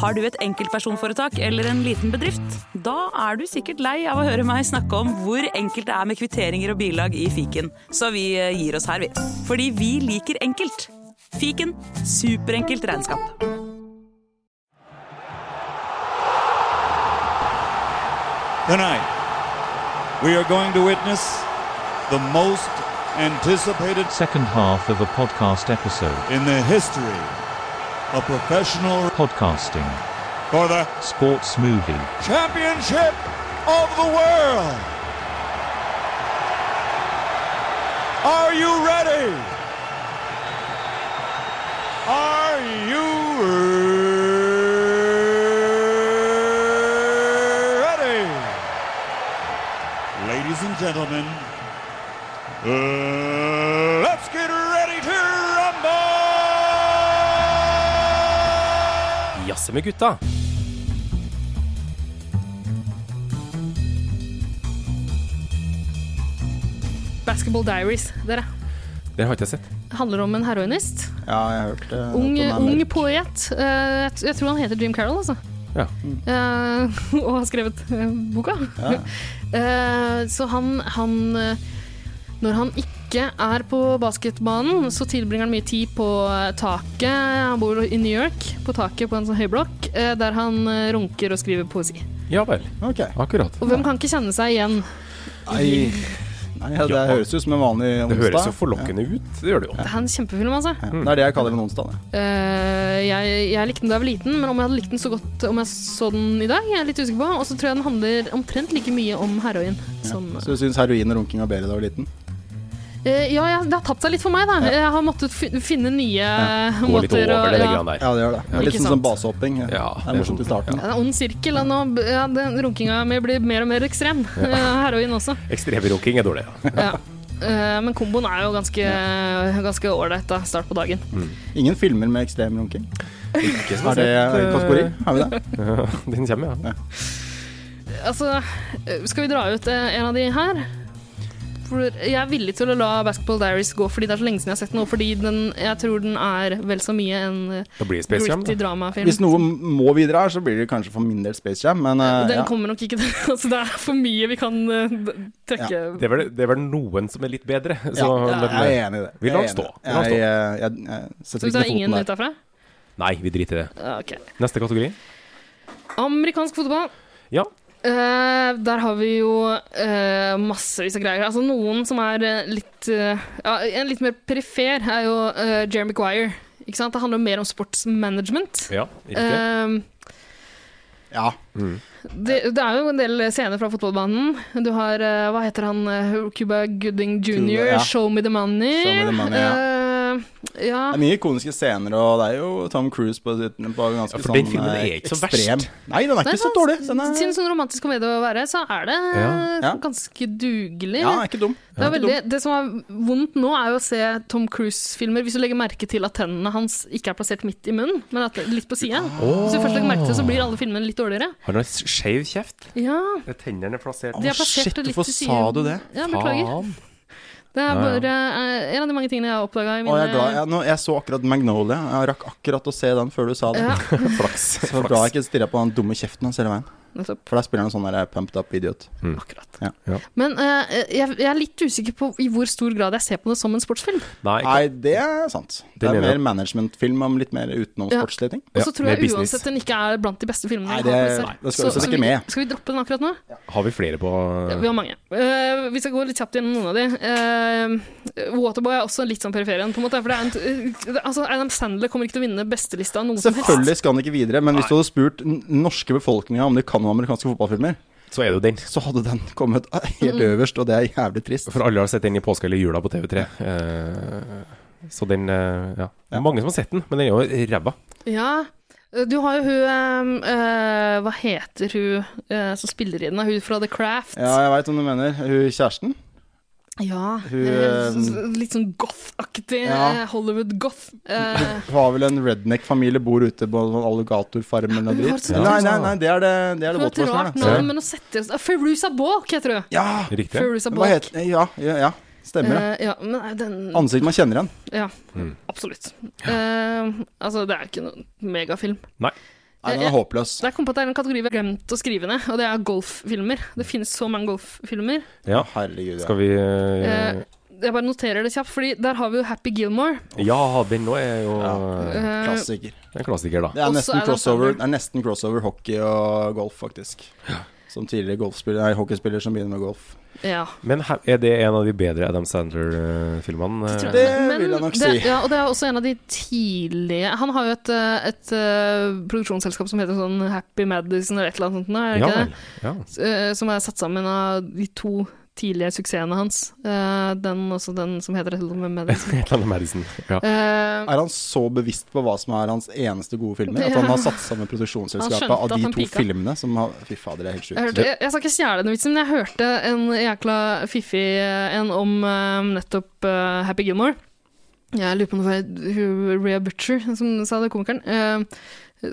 Har du et enkeltpersonforetak eller en liten bedrift? Da er du sikkert lei av å høre meg snakke om hvor enkelt det er med kvitteringer og bilag i fiken, så vi eh, gir oss her, vi. Fordi vi liker enkelt. Fiken superenkelt regnskap. Tonight, we are going to witness the most anticipated second half of a podcast episode in the history of professional podcasting for the sports movie championship of the world. Are you ready? Are you ready? Ladies and gentlemen, uh, let's get ready to rumble! Jazze med gutta. Basketball Diaries, dere. Det har ikke jeg sett. Handler om en heroinist. Ja, jeg har hørt det. Ung, At han er ung mørk. poet. Eh, jeg, t- jeg tror han heter Jim Carroll, altså. Ja. Eh, og har skrevet eh, boka. Eh, så han, han eh, Når han ikke er på basketbanen, så tilbringer han mye tid på eh, taket. Han bor i New York, på taket på en sånn høyblokk, eh, der han eh, runker og skriver poesi. Ja vel. Ok. Akkurat. Og hvem kan ikke kjenne seg igjen? Nei, Nei ja, det Ja. høres ut som en vanlig onsdag. Det høres jo Mm. forlokkende ut. Det gjør det jo. Det er en kjempefilm, altså. Ja. Det er det jeg kaller en onsdag. det. Eh, jeg, jeg likte den da jeg var liten, men om jeg hadde likt den så godt om jeg så den i dag, jeg er litt usikker på. Og så tror jeg den handler omtrent like mye om heroin som Så du syns heroin og runking var bedre da du var liten? Eh, Ja, ja, det har tatt seg litt for meg, da. Jeg har måttet fin- finne nye Gå litt måter over det, det ja. grann der. Ja, det gjør det. Det er litt Ikke sånn som sant? basehopping. Ja, det er morsomt i starten. Det er en ond sirkel. og Nå, b- ja, den runkinga mi blir mer og mer ekstrem. Eh, Heroin også. Ekstremrunking er dårlig. Ja. Ja. Eh, Men komboen er jo ganske ganske ålreit da, start på dagen. Ingen filmer med ekstrem runking. Ikke som Er det jeg har sett, en kategori? Har vi det? eh, Den kommer, ja. Altså, eh, skal vi dra ut eh, en av de her? For jeg er villig til å la Basketball Diaries gå fordi det er så lenge siden jeg har sett den, og fordi den, jeg tror den er vel så mye en eh, Da blir det Space Jam. gritty Da. dramafilm. Hvis noe må videre her, så blir det kanskje for min del Space Jam, men eh, Den ja. kommer nok ikke til altså, Det er for mye vi kan eh, d- trekke Det er, vel, det er vel noen som er litt bedre. Så ja, men- jeg er enig i det. Vi lar den Jeg er enig i stå. det. Vi lar den stå. Jeg, eh, jeg, jeg Så setter ikke det er ned ingen foten ut der. derfra? Nei, vi driter i det. Ja, Ok. Neste kategori? Amerikansk fotball. Ja. Eh, der har vi jo eh, massevis av greier. Altså Noen som er eh, litt eh, ja, En litt mer perifer er jo eh, Jeremy Guire. Ikke sant? Det handler jo mer om sportsmanagement. ja riktig. Eh, Ja. det, det er jo en del scener fra fotballbanen. Du har eh, Hva heter han? eh, Cuba Gooding Cuba, jr. ja. Show me the money. Show me the money, ja. Eh, ja. Det er mye ikoniske scener, og det er jo Tom Cruise på, sitt- på Ja, ganske for sånn den filmen er eh, ikke så ekstrem. verst. Nei, den er Nei, ikke så sånn- dårlig. Den er, Siden sånn romantisk komedie å være, så er det eh, Ja. Ja. ganske dugelig. ja, den er ikke dum. Det, er veldig, det som er vondt nå, er jo å se Tom Cruise-filmer hvis du legger merke til at tennene hans ikke er plassert midt i munnen, men at det er litt på sida. Hvis du først legger merke til det, så blir alle filmene litt dårligere. Har han skeiv kjeft? Ja, Det er Tennene er plassert de er plassert shit, litt hvorfor til siden. sa du det? Ja, beklager. Faen. Det Ja, er ja. bare eh, en av de mange tingene jeg har oppdaga i Og mine jeg, er glad. Jeg, nå, jeg så akkurat Magnolia. Jeg rakk akkurat å se den før du sa det. Ja, Flaks. Så det var bra jeg ikke stirra på den dumme kjeften hans hele veien. nettopp. For der spiller han en sånn der pumped up idiot. Akkurat. Ja. Ja. Men eh, jeg, jeg er litt usikker på i hvor stor grad jeg ser på det som en sportsfilm. Nei, Nei, det er sant. Det Den er er mer managementfilm om litt mer utenom Ja. sportslige ting. Og Ja, så tror mer jeg business. uansett den ikke er blant de beste filmene. Nei, jeg det, har på liste her. det skal Så- vi så sett ikke vi- med. Skal vi droppe den akkurat nå? har vi flere på Vi har mange. Eh, vi skal gå litt kjapt gjennom noen av de. Eh, Waterboy er også litt sånn periferien, på en måte. For det er en, t- eh, altså, Adam Sandler kommer ikke til å vinne bestelista av noen som helst. Selvfølgelig skal han ikke videre, men hvis du hadde spurt den norske befolkninga om de kan noen amerikanske fotballfilmer, Så er det jo den. så hadde den kommet helt Mm. øverst, og det er jævlig trist. For alle har sett den i påska eller jula på TV3. Eh, så den eh, ja. Mange som har sett den, men den er jo ræva. Ja. Eh, Du har jo hun eh, eh, Hva heter hun eh, som spiller i den? da? Hun fra The Craft. Ja, jeg veit hva du mener. Hun kjæresten? Ja, Hun, eh, eh, s- s- Litt sånn goth-aktig. Ja. eh, Hollywood-goth. Eh, Hun har vel en redneck-familie, bor ute på en sånn alligatorfarm eller noe hun har et dritt. sånt- Nei, nei, nei, det er det, det, er hun det har et Waterboy som rart er det. navn, men hun setter oss Feruza Balk heter hun. Ja! Riktig. Feruza Hva Balk. heter Ja, ja, ja. stemmer det. Eh, ja, men eh, den Ansikt man kjenner igjen. Mm. Ja, absolutt. Eh, altså, det er ikke noen megafilm. Nei. Nei, den er håpløs. Jeg kom på at det er en kategori vi har glemt å skrive ned, og det er golffilmer. Det finnes så mange golffilmer. Ja. Herregud, ja. Skal vi eh, Eh, jeg bare noterer det kjapt, Fordi der har vi jo Happy Gilmore. Ja, den nå er jo Ja. Eh, Klassiker. en klassiker, da. Det er Også nesten er det crossover, sammen. det er nesten crossover hockey og golf, faktisk. Som tidligere golfspiller, nei, hockeyspiller som begynner med golf. Ja. Men her, er det en av de bedre Adam Sandler-filmene? tror jeg. Det vil jeg nok det, si. Ja, og det er også en av de tidlige Han har jo et, eh, et eh, produksjonsselskap som heter sånn Happy Madison eller et eller annet sånt. nå, Er det Ja ikke vel. det? Ja. S- eh, Som er satt sammen av de to tidlige suksessene hans. Eh, Den også den som heter et eller annet med Madison. Et eller annet Madison. Ja. Eh, Er han så bevisst på hva som er hans eneste gode filmer? At han har satt Han sammen produksjonsselskapet skjønte av at de han to pika. filmene som har Fy fader, det er helt Jeg, sjukt. hørte, jeg, jeg skal ikke stjele den vitsen, men jeg hørte en jækla fiffig eh, en om eh, nettopp eh, Happy Gilmore. Jeg lurer på om det var hun- Rhea Butcher som sa det, komikeren. eh,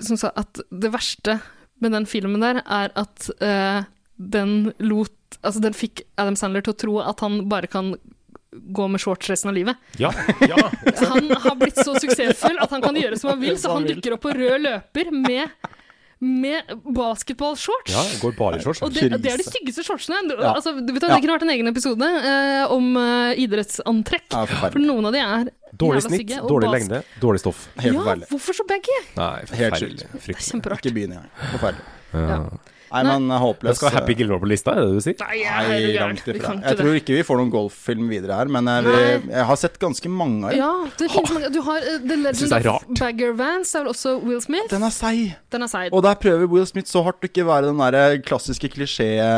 som sa at det verste med den filmen der er at eh, den lot Altså, den fikk Adam Sandler til å tro at han bare kan gå med shorts resten av livet. Ja, ja. Han har blitt så suksessfull at han kan gjøre som han vil, så han dukker opp på rød løper med, med basketballshorts. ja går bare i shorts. Og det, det er de styggeste shortsene. Du- Ja. Altså, du vet, at Ja. det kunne vært en egen episode eh, om eh, idrettsantrekk. Ja, For forferdelig. noen av de er Dårlig jævla snitt, stygge, og dårlig bas- lengde, dårlig stoff. Helt Ja, forferdelig. hvorfor så begge? Nei, Helt forferdelig. Det er Frykt. kjemperart. Ikke begynn engang. Forferdelig. Ja. Nei, men eh, Jeg håpløs. skal ha Happy Gilmore på lista, er det det du sier? Nei, jeg er Nei, helt gæren. langt Vi ifra. kan ikke Jeg tror ikke vi får noen golffilm videre her, men eh, vi, jeg har sett ganske mange av det. dem. Ja, det finnes mange. Du har eh, The synes Legend det er of rart. Bagger Vance, er vel også Will Smith. Den er seig. Den er seig. Og der prøver Will Smith så hardt å ikke være den der eh, klassiske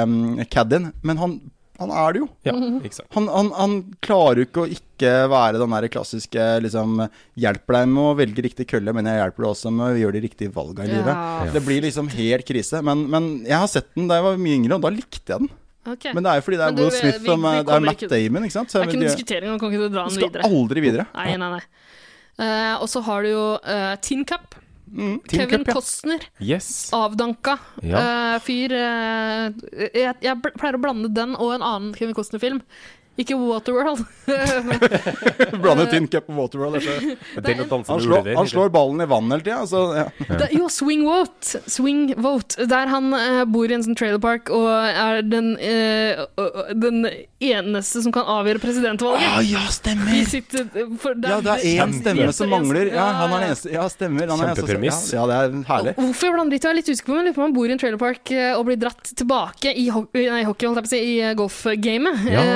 klisjé-caddien, men han, han er det jo. Ja, ikke sant. Han, han, han klarer jo ikke å ikke være den der klassiske liksom, 'hjelper deg med å velge riktig kølle, men jeg hjelper deg også med å gjøre de riktige valga i livet'. Ja. Det blir liksom helt krise. Men, men jeg har sett den da jeg var mye yngre, og da likte jeg den. ok. Men det er jo fordi det Men er du, Will vi- Smith vi- vi som er- Det kommer er Matt ikke- Damon, ikke sant? Så Det jeg er vil- ikke noen diskutering, man kan ikke dra den skal videre. aldri videre. Nei, nei, nei. Eh, og så har du jo eh, Tin Cup. Mm. Kevin Costner. Yes. avdanka Ja. eh, fyr. eh, jeg, jeg bl- pleier å blande den og en annen Kevin Costner-film. Ikke Waterworld. Nei, Blande Tin Cup og Waterworld. altså. Den å danse Han med slår, ulver. han slår ballen i vann hele tida. Altså, ja. det, jo, Swing Vote. Swing Vote. Der han eh, bor i en sånn trailer park og er den, eh, ø- ø- den eneste som kan avgjøre presidentvalget. Ah, ja, stemmer! Vi sitter, eh, for der- Ja, det er én stemme som mangler. Ja, han er den ja. eneste. Ja, stemmer. Han er den eneste som- Kjempepremiss. Ja, ja, det er herlig. Hvorfor jeg blander litt, jeg er litt usikker på men jeg lurer på om han bor i en trailer park eh, og blir dratt tilbake i ho nei, hockey, holdt jeg på å si, i eh, golfgamet. Ja,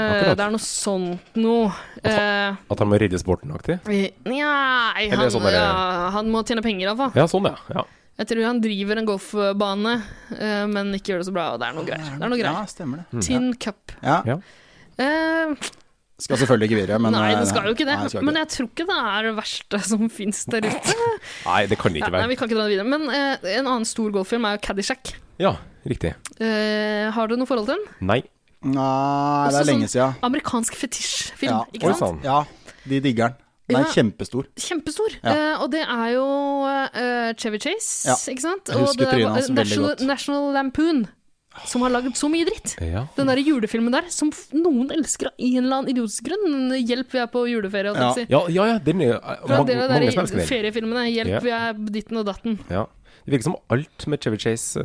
Eh, akkurat. det er noe sånt noe. Eh, At han må redde sporten aktig? i- Nei, Eller han, sånn der- ja, han må tjene penger iallfall. Ja, sånn, ja. ja. Jeg tror han driver en golfbane, eh, men ikke gjør det så bra. Og det er noe greier. Det er noe greier. Ja, stemmer Hmm. det. Tin Cup. Ja. Ja. Eh, Skal selvfølgelig ikke videre, men nei, eh, den skal jo ikke det. nei, den skal men jeg tror ikke det er det verste som fins der ute. Nei, det kan det Ja, ikke nei, være. vi kan ikke dra det videre. Men eh, en annen stor golffilm er jo Caddyshack. Ja, riktig. Eh, har du noe forhold til den? Nei. Nei, det Også er lenge sånn sia. Amerikansk fetisjfilm, Ja. ikke Oi, sant? sann. sånn. Ja, de digger den. Den er Ja. kjempestor. Kjempestor. Ja. Eh, og det er jo eh, Chevy Chase, Ja. ikke sant? Jeg Og husker det trynet var, hans eh, veldig National, godt. National Lampoon, som har lagd så mye dritt. Ja. Den derre julefilmen der, som f- noen elsker av en eller annen idiotisk grunn. Hjelp, vi er på juleferie, holdt jeg Ja. på å si. Ja, ja, ja den er, eh, Fra mange, det mange som der elsker i den. feriefilmene. Hjelp, Ja. vi er ditten og datten. Ja. Det virker som alt med Chevy Chase eh,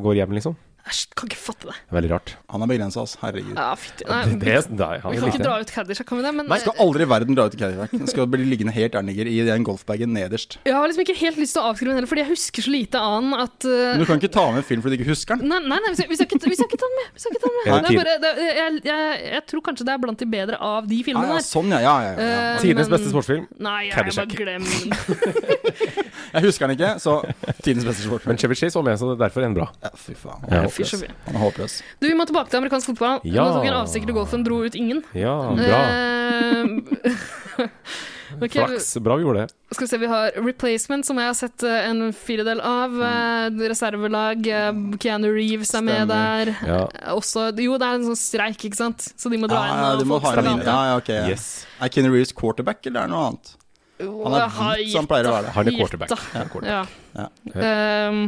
går hjem, liksom. Æsj, kan ikke fatte det. Veldig rart. Han er begrensa, altså. Herregud. Ja, fytti. Nei, Det, vi, det, nei, ja, vi det kan ikke likte dra jeg. ut Caddyshack, kan vi det? Men Den skal aldri i verden dra ut i Cadillac. Den skal bli liggende helt erniger i den golfbagen nederst. jeg har liksom ikke helt lyst til å avskrive den heller, fordi jeg husker så lite annen at eh, Men du kan ikke ta med en film fordi du ikke husker den. Nei, nei, nei vi, skal, vi, skal ikke, vi skal ikke ta den med. Vi skal ikke ta den Er med. det Det er bare, det, er- jeg, jeg, jeg tror kanskje det er blant de bedre av de Ja, filmene ja, der. sånn, ja. ja, ja, ja. Eh, Tidenes men- beste sportsfilm. Nei, jeg, jeg Caddyshack. bare glem den. Jeg husker den ikke, så tidens beste sport. Men Chevy Chase var med, så det er derfor en bra. Ja, fy faen. Ja. Han er Fy, så håpløs. mye. Han er håpløs. Du, vi må tilbake til amerikansk fotball. Ja. Nå tok en avstikker til golfen, dro ut ingen. Ja, bra. Eh, ok, Flaks. Bra vi gjorde det. skal vi se, vi har Replacement, som jeg har sett eh, en firedel av. Mm. eh, Reservelag. eh, Keanu Reeves er med Stemmer. der. Ja. Eh, Også, jo, det er en sånn streik, ikke sant? Så de må dra Ja, inn. ja, og Ah, du må folk ha skal en inn. anta. Ja, ja, ok. ja. Yes. Er Keanu Reeves quarterback, eller er det noe annet? Han er Åh, hvit, så han pleier å være det. Han er Gitt, quarterback. da. Han er quarterback. Ja. Ja. Ehm,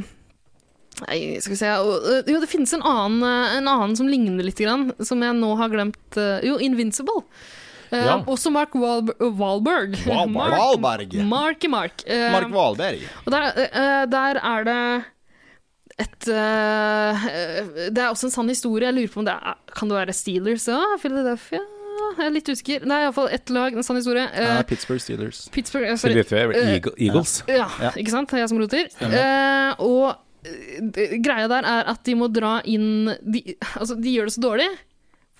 nei, skal vi se og, øh, Jo, det finnes eh, en annen, øh, en annen som ligner litt, grann, som jeg nå har glemt. øh, Jo, eh, Invincible. Eh, Ja. Også Mark Wahlb Wahlberg. Wahlberg. Wahlberg. Marky Mark. Eh, Mark Wahlberg. og der, eh, der er det et eh, Det er også en sann historie. Jeg lurer på om det er Kan det være Steelers òg? Philadelphia? Jeg er litt usikker. Det er iallfall ett lag, en sann historie. Eh, Ja, Pittsburgh Steelers. Pittsburgh eh, Til Sorry. Eagle- Eagles. Ja, Ja. ikke sant? Det er jeg som roter. Eh, og eh, d- greia der er at de må dra inn De, altså, de gjør det så dårlig.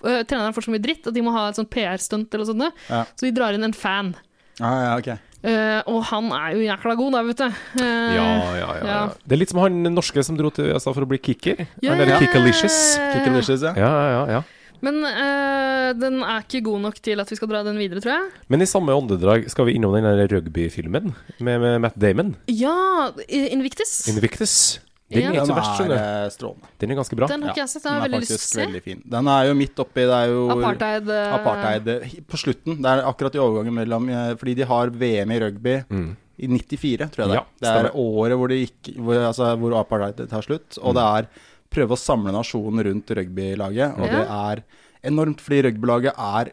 eh, treneren får så mye dritt at de må ha et sånt PR-stunt eller sånt. Ja. Så de drar inn en fan. Ja, ja, ok. Eh, og han er jo jækla god, da, vet du. Eh, Ja, ja, ja, ja. ja. Det er litt som han norske som dro til USA for å bli kicker. Ja, Han er ja, Eh. ja, kickalicious. ja, Kick and Dishes, ja. Ja, ja, ja. Men eh, den er ikke god nok til at vi skal dra den videre, tror jeg. Men i samme åndedrag skal vi innom den der rugbyfilmen med, med Matt Damon. Ja, i- Invictus. Invictus. Den Ja. er ikke Den så verst, er skjønner du. eh, strålende. Den er ganske bra. Den har ikke Ja, jeg sett, den har jeg den veldig er lyst til å faktisk se. veldig fin. Den er jo midt oppi, det er jo Apartheid. eh, Apartheid eh, på slutten. Det er akkurat i overgangen mellom eh, Fordi de har VM i rugby Mm. i 94, tror jeg det. Ja, er. det er stemmer. Mm. året hvor, det gikk, hvor, altså, hvor apartheid tar slutt. Og det er prøve å samle nasjonen rundt rugbylaget, og det er enormt fordi rugbylaget er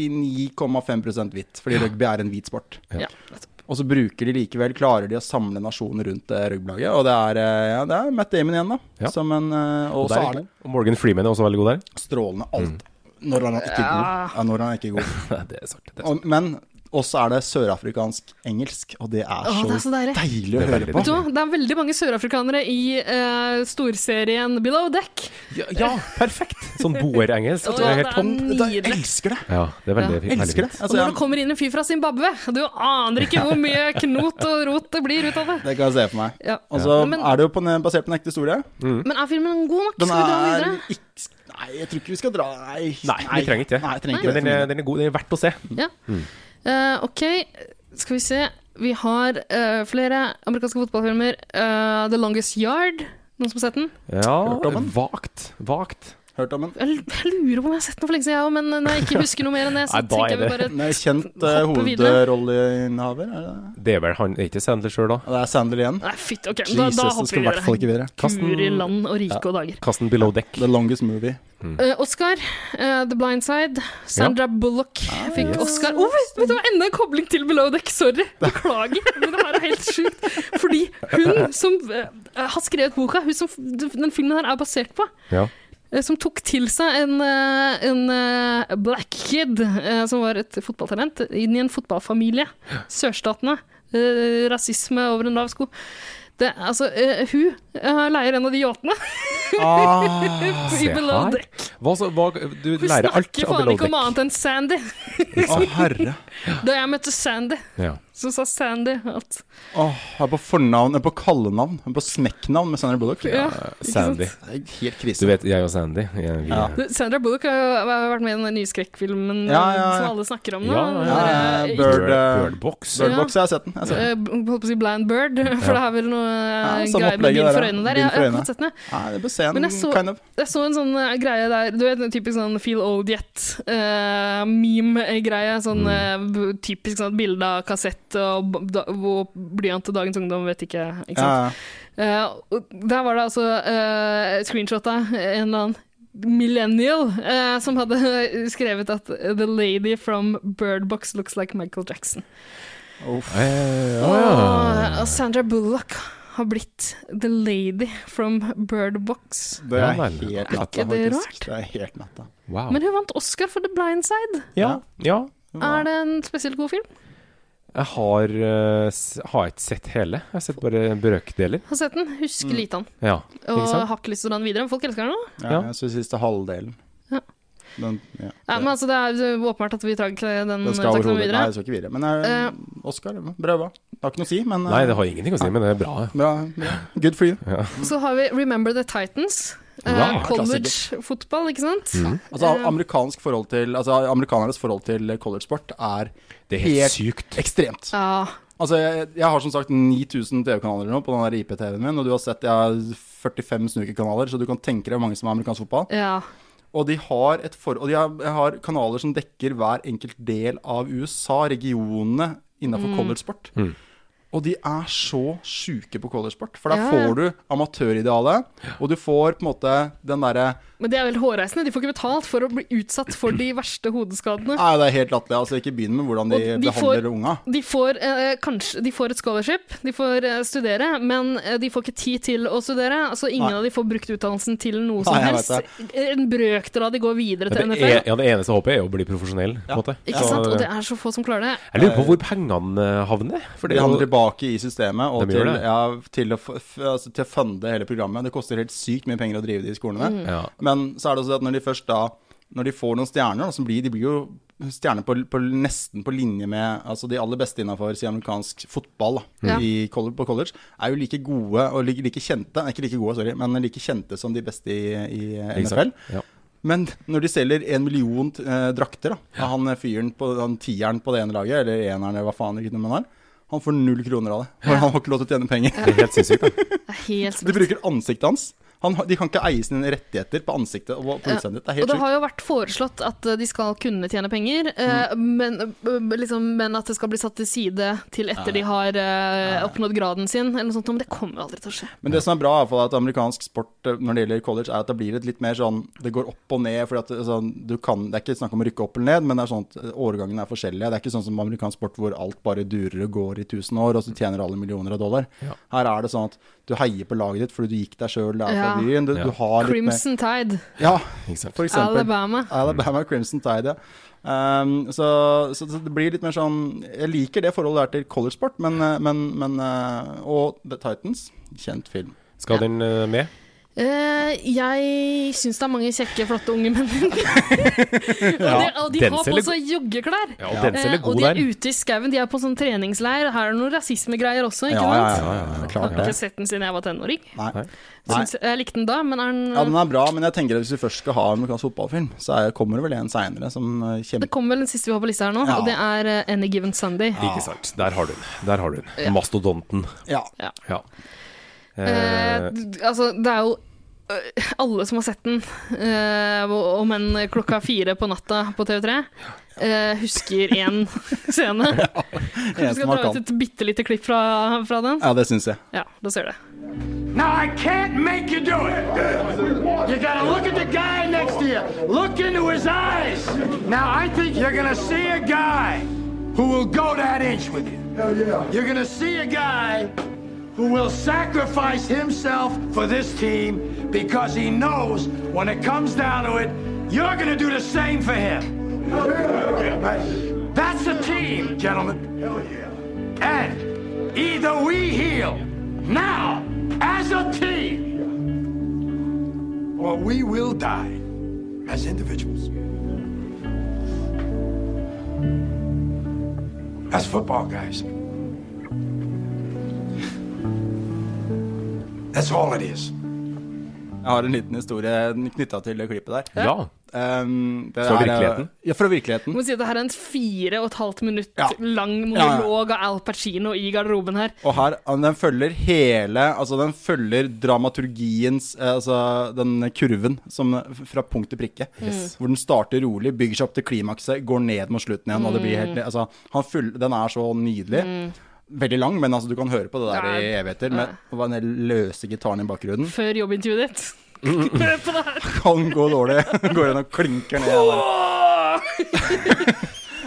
99,5 hvitt, fordi rugby er en hvit sport. Ja. Og så bruker de likevel, klarer de å samle nasjonen rundt eh, rugbylaget. Og det er, eh, ja, det er Matt Damon igjen, da. Ja. Som en, eh, og Og så der- Mm. er det og Morgan Freeman er også veldig god der. strålende alt. Når han er ikke god. Ja, når han er ikke god. Det er sant. Og, men også er det sørafrikansk engelsk, og det er Åh, så, det er så deilig. deilig å Det er høre veldig på. Vet du hva, det er veldig mange sørafrikanere i eh, storserien Below Deck. Ja, ja, perfekt! Sånn boerengelsk. Åh, Det er det helt er topp. Jeg nydelig. elsker det! Ja, det er veldig, Ja. veldig Elsker det. fint. Og Altså, når det jeg, kommer inn en fyr fra Zimbabwe, du aner ikke hvor mye knot og rot det blir ut av det. det kan jeg se for meg. Ja. Og så Men- Altså, er det jo på, en- basert på en ekte historie. Men er filmen god nok? Den Skal vi dra den er videre? ikke Nei, jeg tror ikke vi skal dra Nei, Nei, vi trenger ikke det. Nei, jeg trenger Men ikke den det. er, den er god. Den er verdt å se. Ja. Mm. Eh, ok, skal vi se. Vi har eh, flere amerikanske fotballfilmer. Eh, The Longest Yard. Noen som har sett den? Ja, Hørt om den? vagt. Vagt. Hørt om den? Jeg l- jeg lurer på om jeg har sett den for lenge siden, jeg òg, men eh, når jeg ikke husker noe mer enn det, så Nei, da tenker jeg vi er bare Den er kjent uh, Hoppe videre. hovedrolleinnehaver. Er det det? Det er vel han Er ikke Sandler sjøl, da? Ja, det er Sandler igjen. Nei, fytti, ok, da, Jesus, da den hopper skal i vi hvert fall videre. ikke videre. Kur i land og rike og dager. Kasten below deck. The longest movie. Eh, Oscar, eh, The Blind Side. Sandra Bullock Ah, fikk Oscar. Å, vet, vet du hva, enda en kobling til Below Deck. Sorry, beklager. Men det her er helt sjukt. Fordi hun som eh, har skrevet boka, hun som den filmen her er basert på, Ja. eh, som tok til seg en, eh, en eh, black kid eh, som var et fotballtalent, inn i en fotballfamilie. Sørstatene. Eh, Rasisme over en lav sko. Det, altså, eh, hun eh, leier en av de yachtene i Ah, Ah, Se Below her. Deck. Hva, så, hva, du Hun lærer alt snakker av faen below ikke om deck. annet enn Sandy. Å, herre. Da jeg møtte Sandy, Ja. så sa Sandy at Åh, jeg er på fornavn, jeg er på kallenavn, jeg er på smekknavn med Sandra Bullock. ja, Sandy. Det er helt Du krise. vet, jeg og Sandy ja, vi, Ja. Du, Sandra Bullock har jo har vært med i den nye skrekkfilmen Ja, ja, ja. som alle snakker om nå. Ja, ja, Den ja. der, Ja, eh, Bird- Bird Box. Ja. Birdbox, jeg har sett den. Jeg har sett den. eh, Holdt på å si Blind Bird, for det har vel noe eh, Ja, greier med samme opplegget bind der, for ja. øynene der. Jeg, Bind for jeg har øynene. ikke sett den. jeg. Nei, det bør se en Men jeg så- kind of Jeg så en sånn eh, greie der Du vet, en typisk sånn Phil Odiet-meme-greie. eh, sånn Mm. eh, b- typisk sånn bilde av kassett og, b- da, og blyant til dagens ungdom, vet ikke. ikke sant? ja, Eh, og der var det altså uh, screenshot av en eller annen millennial eh, som hadde skrevet at The lady from Birdbox looks like Michael Jackson. Eh, å, Og, og Sandra Bullock har blitt The lady from Birdbox. Det Ja, er vel. helt Er natta, ikke det faktisk. rart? Det er helt natta. Wow. Men hun vant Oscar for The Blind Side. ja, ja. Er det en spesielt god film? Jeg har, eh, s- har ikke sett hele. Jeg har sett bare brøkdeler. Har sett den, husker lite av den. Ja, ikke Og sant? har ikke lyst til å dra den videre, men folk elsker den nå. Ja, jeg synes siste halvdelen. Ja. Den, ja. Ja, men altså, det er åpenbart at vi trakk den, den Den skal trakk den overhodet Nei, videre. jeg skal ikke videre. Men er, Eh. Oscar, det var bra jobba. Det har ikke noe å si, men eh, Nei, det har ingenting å si, men det er bra. bra, bra. Good for you. Så har vi Remember the Titans. Eh, Ja, College-fotball, ikke sant? Altså, Eh. amerikansk forhold til, altså, amerikanernes forhold til college-sport er Det er helt sykt. ekstremt. Ja. Altså, jeg, jeg har som sagt 9000 TV-kanaler nå på den der IP-TV-en min, og du har sett jeg har 45 snookerkanaler, så du kan tenke deg hvor mange som er amerikansk fotball. ja. Og de har, et for, og de har, har kanaler som Mm. dekker hver enkelt del av USA, regionene innenfor college sport. Og Og de er så sjuke på collegesport. For der Ja, ja. får du amatøridealet, og du får på en måte den derre Men det er vel hårreisende. De får ikke betalt for å bli utsatt for de verste hodeskadene. Nei, det er helt latterlig. Altså, ikke begynn med hvordan de, Og de får- behandler unga. De får, eh, kanskje, de får et scholarship, de får eh, studere, men eh, de får ikke tid til å studere. Så ingen Nei. av de får brukt utdannelsen til noe Nei, som jeg helst. En brøkdel av de går videre Det, til NFL. er, ja, det eneste håpet er jo å bli profesjonell. På en måte. Ikke Så- eh, sant? Og det er så få som klarer det. Jeg lurer på hvor pengene eh, havner. For De det er handler jo tilbake i systemet og De til, gjør det. ja, til, å, f- f- altså, til å funde hele programmet. Det koster helt sykt mye penger å drive de skolene. ja. Men så er det også det at når de først da Når de får noen stjerner, da, så blir de blir jo stjerner på, på, nesten på linje med altså de aller beste innafor si amerikansk fotball da, Ja. i, colle- på college. Er jo like gode og like, like kjente Ikke like gode, sorry, men like kjente som de beste i, i eh, Ikke NFL. sant? Ja. Men når de selger en million eh, drakter da, av han fyren på han tieren på det ene laget, eller eneren, eller hva faen ikke noe man har, han får null kroner av det. For han har ikke lov til å tjene penger. Det er helt sinnssykt. da. Det er helt De smitt. bruker ansiktet hans. Han, har- de kan ikke eie sine rettigheter på ansiktet og på utseendet. Det Og er helt det sjukt. har jo vært foreslått at eh, de skal kunne tjene penger, eh, Mm. men, eh, liksom, men at det skal bli satt til side til etter de har eh, oppnådd graden sin, eller noe sånt. Men det kommer jo aldri til å skje. Men det som er bra, i hvert fall, er at amerikansk sport eh, når det gjelder college, er at det blir et litt mer sånn Det går opp og ned. Fordi at det- sånn, du kan, det er ikke snakk om å rykke opp eller ned, men det er sånn at eh, årgangene er forskjellige. Det er ikke sånn som amerikansk sport hvor alt bare durer og går i tusen år, og så tjener alle millioner av dollar. Her er det sånn at du heier på laget ditt fordi du gikk deg sjøl, det er fra Ja. byen. Du, Ja. du har litt mer Crimson Tide, Ja, Ikke sant? for eksempel. Alabama. Alabama Crimson Tide, ja. Ehm, så, så, så det blir litt mer sånn Jeg liker det forholdet der til collegesport, men, eh, men, men eh, Og The Titans, kjent film. Skal den eh, med? Eh, jeg syns det er mange kjekke, flotte unge menn. og, de, og de Den har på selger seg joggeklær. Ja, og den Eh, selger og god de er der. ute i skauen, de er på sånn treningsleir. Her er det noen rasismegreier også, ikke sant? ja, Jeg har klart det. ikke sett den siden jeg var tenåring. Nei. Nei. Syns, jeg likte den da, men er den, Ja, den er bra, men jeg tenker at hvis vi først skal ha en amerikansk fotballfilm, så er, kommer det vel en seinere som eh, Det kjemper kommer vel den siste vi har på lista her nå, Ja. og det er eh, Any Given Sunday. Ikke sant. Der har du den. Der har du den. Mastodonten. Ja. Ja. Eh, Eh, d- altså, det er jo eh, alle som har sett den, eh, og- om enn klokka fire på natta på TV3, eh, husker én scene. Kanskje vi som skal man dra ut kan. et bitte lite klipp fra, fra den? ja, det syns jeg. Ja, da ser du det. Now I can't make you do it. You gotta look at the guy next to you. Look into his eyes. Now I think you're gonna see a guy who will go that inch with you. Hell yeah. You're gonna see a guy who will sacrifice himself for this team because he knows when it comes down to it, you're gonna do the same for him. That's a team, gentlemen. Hell yeah. And either we heal now as a team, or we will die as individuals. That's football, guys. That's all it is. Jeg har en liten historie knytta til det klippet der. ja. Ehm, det Fra er, eh, virkeligheten? Ja, fra virkeligheten. Må si at det her er en fire og et halvt minutt Ja. lang ja. monolog av Al Pacino i garderoben her. Og her, han- den følger hele Altså den følger dramaturgiens eh, Altså den kurven som, Fra punkt til prikke Mm. Hvor den starter rolig, bygger seg opp til klimakset Går ned mot slutten igjen og det Mm. blir helt, altså, han full, Den er så nydelig Veldig lang, men altså, du kan høre på det der Ja. i evigheter Med og den der løse gitaren i bakgrunnen Før jobbintervjuet ditt. Hør på det her! Kan gå dårlig Går inn og klinker ned den der.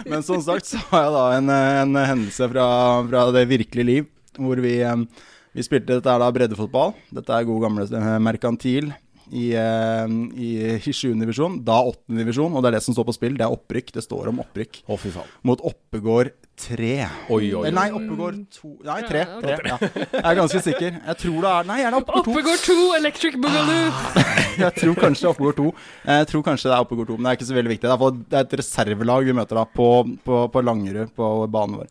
Men som sagt så har jeg da en, en hendelse fra, fra det virkelige liv, hvor vi, eh, vi spilte dette er da breddefotball. Dette er god gamle eh, merkantil i, eh, i, i 7. divisjon, da 8. divisjon, og det er det som står på spill. Det er opprykk. Det står om opprykk Å, fy faen. mot Oppegård 3. Oi, oi, oi. Nei, Oppegård 2 Nei, 3. 3 ja. Jeg er ganske sikker. Jeg tror det er Nei, er det Oppegård 2? Oppegård 2, Electric Boogaloo. Jeg tror kanskje det er Oppegård 2. Jeg tror kanskje det er Oppegård 2, men det er ikke så veldig viktig. Det er, for- det er et reservelag vi møter da på, på, på Langerud, på banen vår.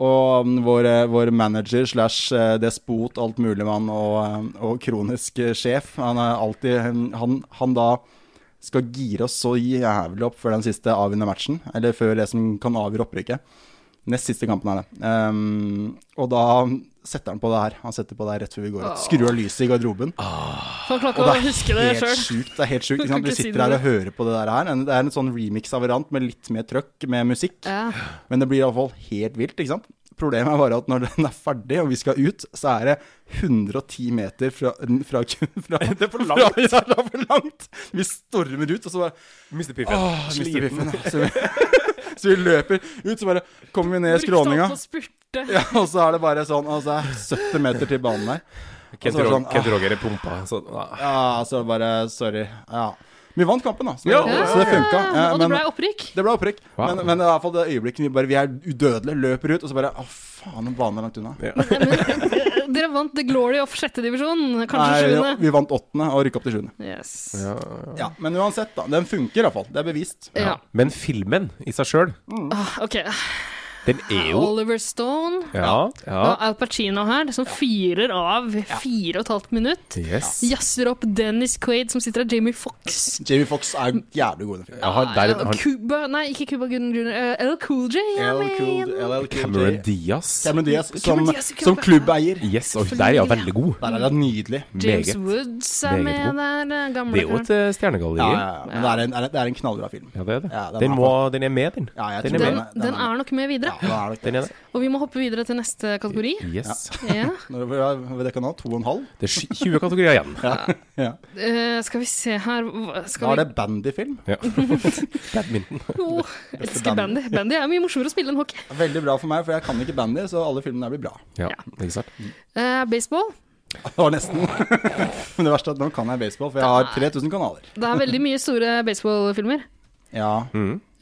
Og mm, vår, eh, vår manager slash eh, despot, altmuligmann og, eh, og kronisk eh, sjef, han er alltid Han, han da skal gire oss så jævlig opp før den siste avgjørende matchen, eller før det som kan avgjøre opprykket. Nest siste kampen er det. Ehm, og da setter han på det her. Han setter på det her rett før vi går ut. Skrur av lyset i garderoben. Får klokka Ah, Og å det er huske det helt sjøl. sjukt. Det er helt sjukt. Du Ikke kan sant? ikke Vi si sitter det. her og hører på det der her. En- Det er en sånn remix av hverandre med litt mer trøkk med musikk. Ja. Men det blir iallfall helt vilt, ikke sant. Problemet er bare at når den er ferdig og vi skal ut, så er det 110 meter fra, fra, fra Det er for langt! Fra, det er for langt. Vi stormer ut, og så bare Mister piffen. Åh, mister biffen. Så vi, så vi løper ut, så bare kommer vi ned i skråninga, opp og spurte. ja, og så er det bare sånn Og så er det 70 meter til banen der. Kent, Altså, Rog- sånn, Kent Roger er pumpa. Så, ah. Ja, så er det bare Sorry. Ja. Men vi vant kampen, da, så, Ja, så det funka. Ja, eh, og det men- ble opprykk. Det ble opprykk. Wow. Men, men det er i hvert fall det øyeblikket vi bare Vi er udødelige, løper ut, og så bare Å, faen, den banen er langt unna. Dere vant The Glory of sjette divisjon, Nei, kanskje jo, sjuende. vi vant åttende og rykka opp til sjuende. Yes. ja. Ja, men uansett, da. Den funker iallfall. Det er bevist. Ja. Men filmen i seg sjøl, Ah, Ok. den er jo Oliver Stone. Ja. Og ja. Al Pacino her, som fyrer av fire og et halvt minutt. Yes. Jazzer opp Dennis Quaid, som sitter av Jamie Fox. Jamie Fox er jævlig god i den filmen. Ja, han, der, han, Cuba Nei, ikke Cuba Gooden Jr. eh, L. Cool J. I LL Cool- mean. LL Cool J. Cameron Diaz. Cameron Diaz som, Cameron Diaz i som klubben. klubbeier. Yes, og der er han veldig god. Der er han nydelig. James Meget. Woods er Meget med der. eh, Gamle Det er jo karen. et eh, stjernegalleri. Ja, ja, ja. Men det er en, er en- det er en knallbra film. Ja, det er det. Ja, den den, er må, den er med, den. Ja, jeg den tror er den, med. den den er- er nok med videre. Ja, det er det. Den er det. Og vi må hoppe videre til neste kategori. Yes. Ja. Når var det kanal? To og en halv? Det er sky- 20 kategorier igjen. Ja. Eh, skal vi se her hva- Da skal er vi... det bandyfilm. Ja. Badminton. Jo, jeg elsker bandy. Bandy er mye morsommere å spille enn hockey. Veldig bra for meg, for jeg kan ikke bandy, så alle filmene der blir bra. Ja, ikke sant. Eh, baseball. Det var nesten. Men det verste er at nå kan jeg baseball, for jeg har 3000 kanaler. Det er veldig mye store baseballfilmer. Ja.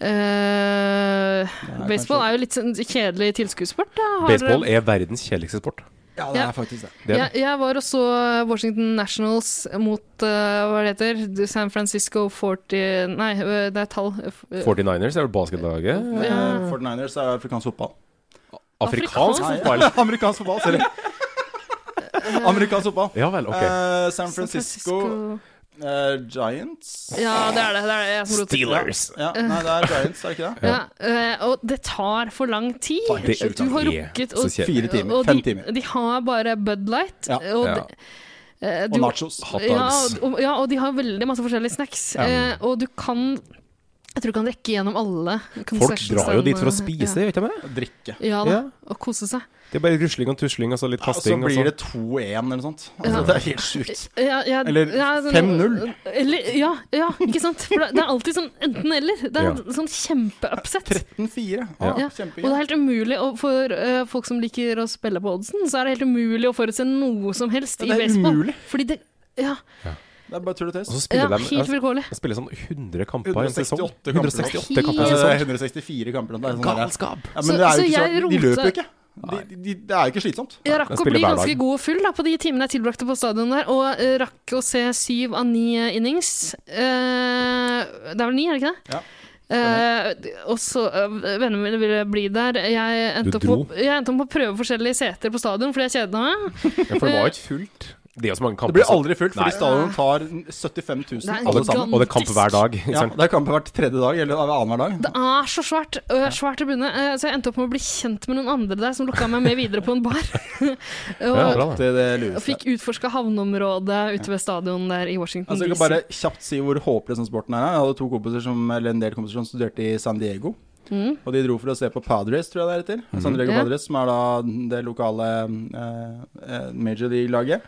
Eh, baseball er jo litt sånn kjedelig tilskuddsport. da. Har- Baseball er verdens kjedeligste sport. ja, Ja. det er faktisk det. Det er jeg, jeg var også Washington Nationals mot eh, hva det heter San Francisco 40 Nei, eh, det er tall. Eh, 49ers er vel basketlaget. Ja. Eh, 49ers er afrikansk fotball. Afrikansk Afrikansk. fotball. Amerikansk fotball, sorry. Amerikansk fotball. Ja vel, ok. Eh, San Francisco eh, Giants. Ja, det er det. det, er det jeg som roter. Steelers. Ja, nei, det er Giants, er det ikke det? Ja, eh, og det tar for lang tid. Tar helt sjukt Du har lang tid. rukket Så kjedelig. Fire timer, og fem de, timer. De har bare Bud Light. Ja. Og, Ja. de- eh, Og du- nachos. Hot Ja, dogs. og, ja, og de har veldig masse forskjellige snacks. Eh, og du kan Jeg tror du kan rekke gjennom alle. Folk drar jo dit for å concession-standene. spise, vet du det? Drikke. Ja, ja da. Ja. Og kose seg. Det er bare rusling og tusling og så litt Ja, og så kasting. og blir sånn. det 2-1 eller noe sånt. Altså, det er helt sjukt. Ja, ja, Eller ja, sånn- 5-0. Eller Ja, ja, ikke sant? For det, det er alltid sånn enten-eller. Det er Ja. sånn kjempeoppsett. 13-4. Ja. Ja, Og det er kjempegøy. helt umulig å, For eh, folk som liker å spille på oddsen, så er det helt umulig å forutse noe som helst Ja, det i er baseball. umulig. Fordi det Ja, Det er bare tull og tøys. Og så ja spiller de helt vilkårlig. de spiller sånn 100 kamper i en sesong. 168 kamper. 168 Ja, kamper i en det er sesong. 164 kamper. Det er sånn der- Galskap! Ja, Så- men det er så jo ikke jeg så, de rota- løper jo ikke. De, de, de, det er jo ikke slitsomt. Jeg rakk Jeg å spiller bli hver ganske dag. god og full da, på de timene jeg tilbrakte på stadion der, og eh, rakk å se syv av ni eh, innings. Eh, det er vel ni, er det ikke det? Ja. Eh, og så eh, Vennene mine ville bli der. Jeg endte, Du opp på, dro. jeg endte opp på å prøve forskjellige seter på stadion fordi jeg kjeda meg. Ja, for det var jo ikke fullt. Det er jo så mange Det kamper. blir aldri fullt, Altså, Nei. fordi stadion tar 75 Det er 000 en alle alle sammen. gigantisk- sammen. Og det er kamp hver dag. ikke Ja, sant? det er kamper hvert tredje dag, eller annenhver dag. Det er så svært. Uh, svært tribune. Eh, så jeg endte opp med å bli kjent med noen andre der som lukka meg med videre på en bar. og, Ja, bra, da. Det, det og lureste. fikk utforska havneområdet ute ved stadion der i Washington Altså, jeg kan bare kjapt si hvor håpløs den sporten her er. Jeg hadde to kompiser som, eller en del kompiser som studerte i San Diego. Og de dro for å se på Padres, tror jeg det heter. San Diego Mm. Ja. Padres, som er da det lokale eh, eh, major league-laget.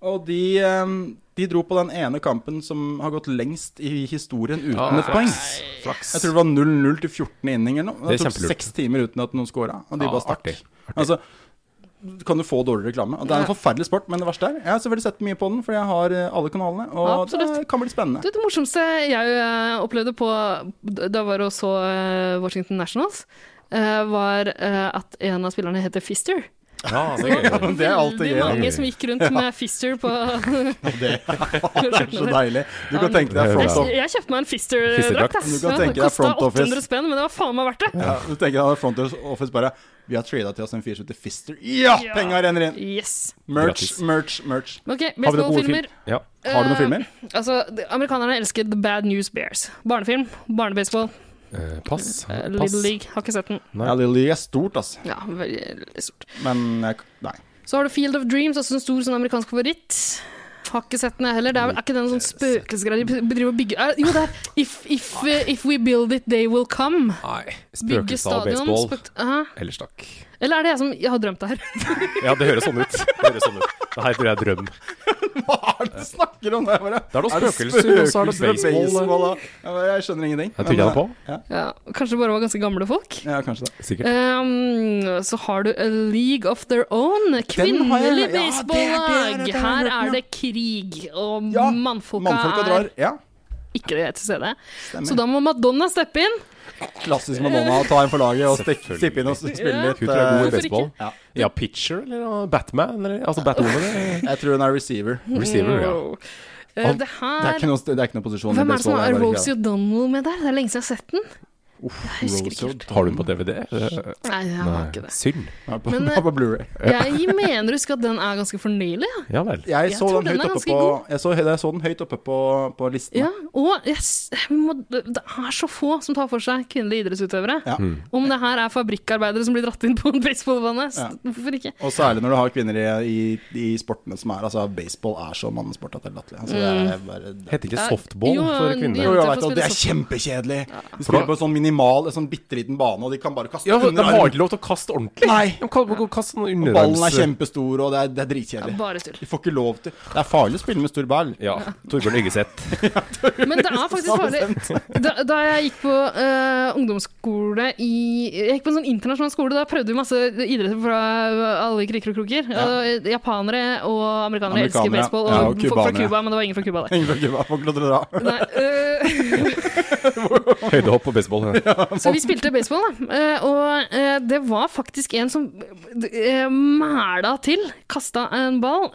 Og de, eh, de dro på den ene kampen som har gått lengst i historien uten Ah, et poeng. Flaks. Jeg tror det var 0-0 til 14. inning eller noe. Det, Det er tok kjempelurt. seks timer uten at noen scora, og de Ja, bare stakk. artig, Altså, kan du få dårlig reklame? Og Det er en Ja. forferdelig sport, men det verste er Jeg har selvfølgelig sett mye på den, for jeg har eh, alle kanalene, og Absolutt. det kan bli spennende. Du, det morsomste jeg eh, opplevde på Da var det også eh, Washington Nationals, eh, var eh, at en av spillerne heter Fister. Ja, det er gøy. Men det er alltid Veldig gøy. mange som gikk rundt med Fister på Det er så deilig. Du kan tenke deg front Jeg, office. jeg kjøpte meg en Fister-drakt. ass. Du kan Ja, tenke deg kostet front office. 800 spenn, men det var faen meg verdt det. Ja, du tenker deg front office bare Vi har trada til oss en fyr som heter Fister. Ja! Ja. Penga renner inn! Yes. Merch, Gratis. merch, merch. Ok, noen gode baseballfilmer. Ja. Har du noen Eh, filmer? Altså, de- Amerikanerne elsker The Bad News Bears. Barnefilm, barnebaseball, Eh, Pass. eh, Pass. Little League. Har ikke sett den. Nei. Ja, Little League er stort, altså. Ja, veldig stort. Men jeg- nei. Så har du Field of Dreams, også en stor sånn amerikansk favoritt. Har ikke sett den jeg heller. Det er, vel- er ikke den noen sånn spøkelsesgreier de bedriver og bygger eh, Jo, det er if, if, eh, if we build it, they will come. Nei. Bygge Spøkelser og stadion. baseball. spøkt- Hæ? Eller stakk. Eller er det jeg som jeg har drømt det her? Ja, det høres sånn ut. Det høres sånn ut. Det her tror jeg er drøm. Hva er det du snakker om? Det, bare? Da er det spøkelser, og så er det spøkelser, baseball. da. Jeg bare- Jeg skjønner ingenting. Jeg trodde jeg var på. Ja, Ja, kanskje det bare var ganske gamle folk? ja, kanskje det. Eh, Sikkert. Ehm, så har du A League of Their Own, har kvinnelig jeg- ja, det er det jeg har hørt baseballag. om, Her ja. er det krig, og Ja, mannfolka, Mannfolka drar. er Ja, ikke det til stede. Stemmer. Så da må Madonna steppe inn. klassisk Madonna å ta en for laget og stikke- Selvfølgelig. stippe inn og spille litt. Hun tror jeg er god i Hvorfor eh, baseball. ikke? Ja. Ja, pitcher eller noe? Batman, eller altså Batwoman? eller- Jeg tror hun er receiver. Receiver, ja. Eh, det Det er her ikke noe, det er ikke noe posisjon Hvem er det som det har bare Rosie greia. O'Donnell med der? Det er lenge siden jeg har sett den. Jeg Rosie husker ikke helt. Har du den på DVD? Eh, Nei, jeg har ikke det. Synd. Ja, på, Men, eh, på Blu-ray. Jeg mener å huske at den er ganske fornyelig. ja. Ja vel. Jeg jeg så, tror den den høyt er oppe ganske på, god. jeg, så, jeg så den høyt oppe på, på listen. Ja, og jeg s- vi må, det er så få som tar for seg kvinnelige idrettsutøvere. Ja. Mm. Om det her er fabrikkarbeidere som blir dratt inn på en baseballbane, Ja. så hvorfor ikke? Og særlig når du har kvinner i, i, i sportene som er Altså, baseball er så mannesport at det er latterlig. Altså, det er bare det. Heter ikke softball Jo, for kvinner? Jo, Mm. Ja, jeg for vet, å at det er spille kjempekjedelig. De spiller på en sånn minimal, en sånn bitte liten bane, og de kan bare kaste Ja, under De har armen. ikke lov til å kaste ordentlig. Nei. De kan bare kaste sånn Og underarms... ballen er kjempestor, og det er, det er dritkjedelig. Ja, bare tull. De får ikke lov til Det er farlig å spille med stor ball. Ja. Torbjørn Yggeseth. Men det er faktisk farlig. Da, da jeg gikk på eh, ungdomsskole i Jeg gikk på en sånn internasjonal skole, da prøvde vi masse idretter fra alle kriker og kroker. Og japanere og amerikanere, elsker Amerikanere, baseball, ja, og og, folk fra kubanere. Cuba, men det var ingen fra Cuba der. Ingen får ikke hva folk lov til å dra. Nei, eh, Høydehopp og baseball. Ja. så vi spilte baseball, da. Eh, og eh, det var faktisk en som uh, mæla til. Kasta en ball.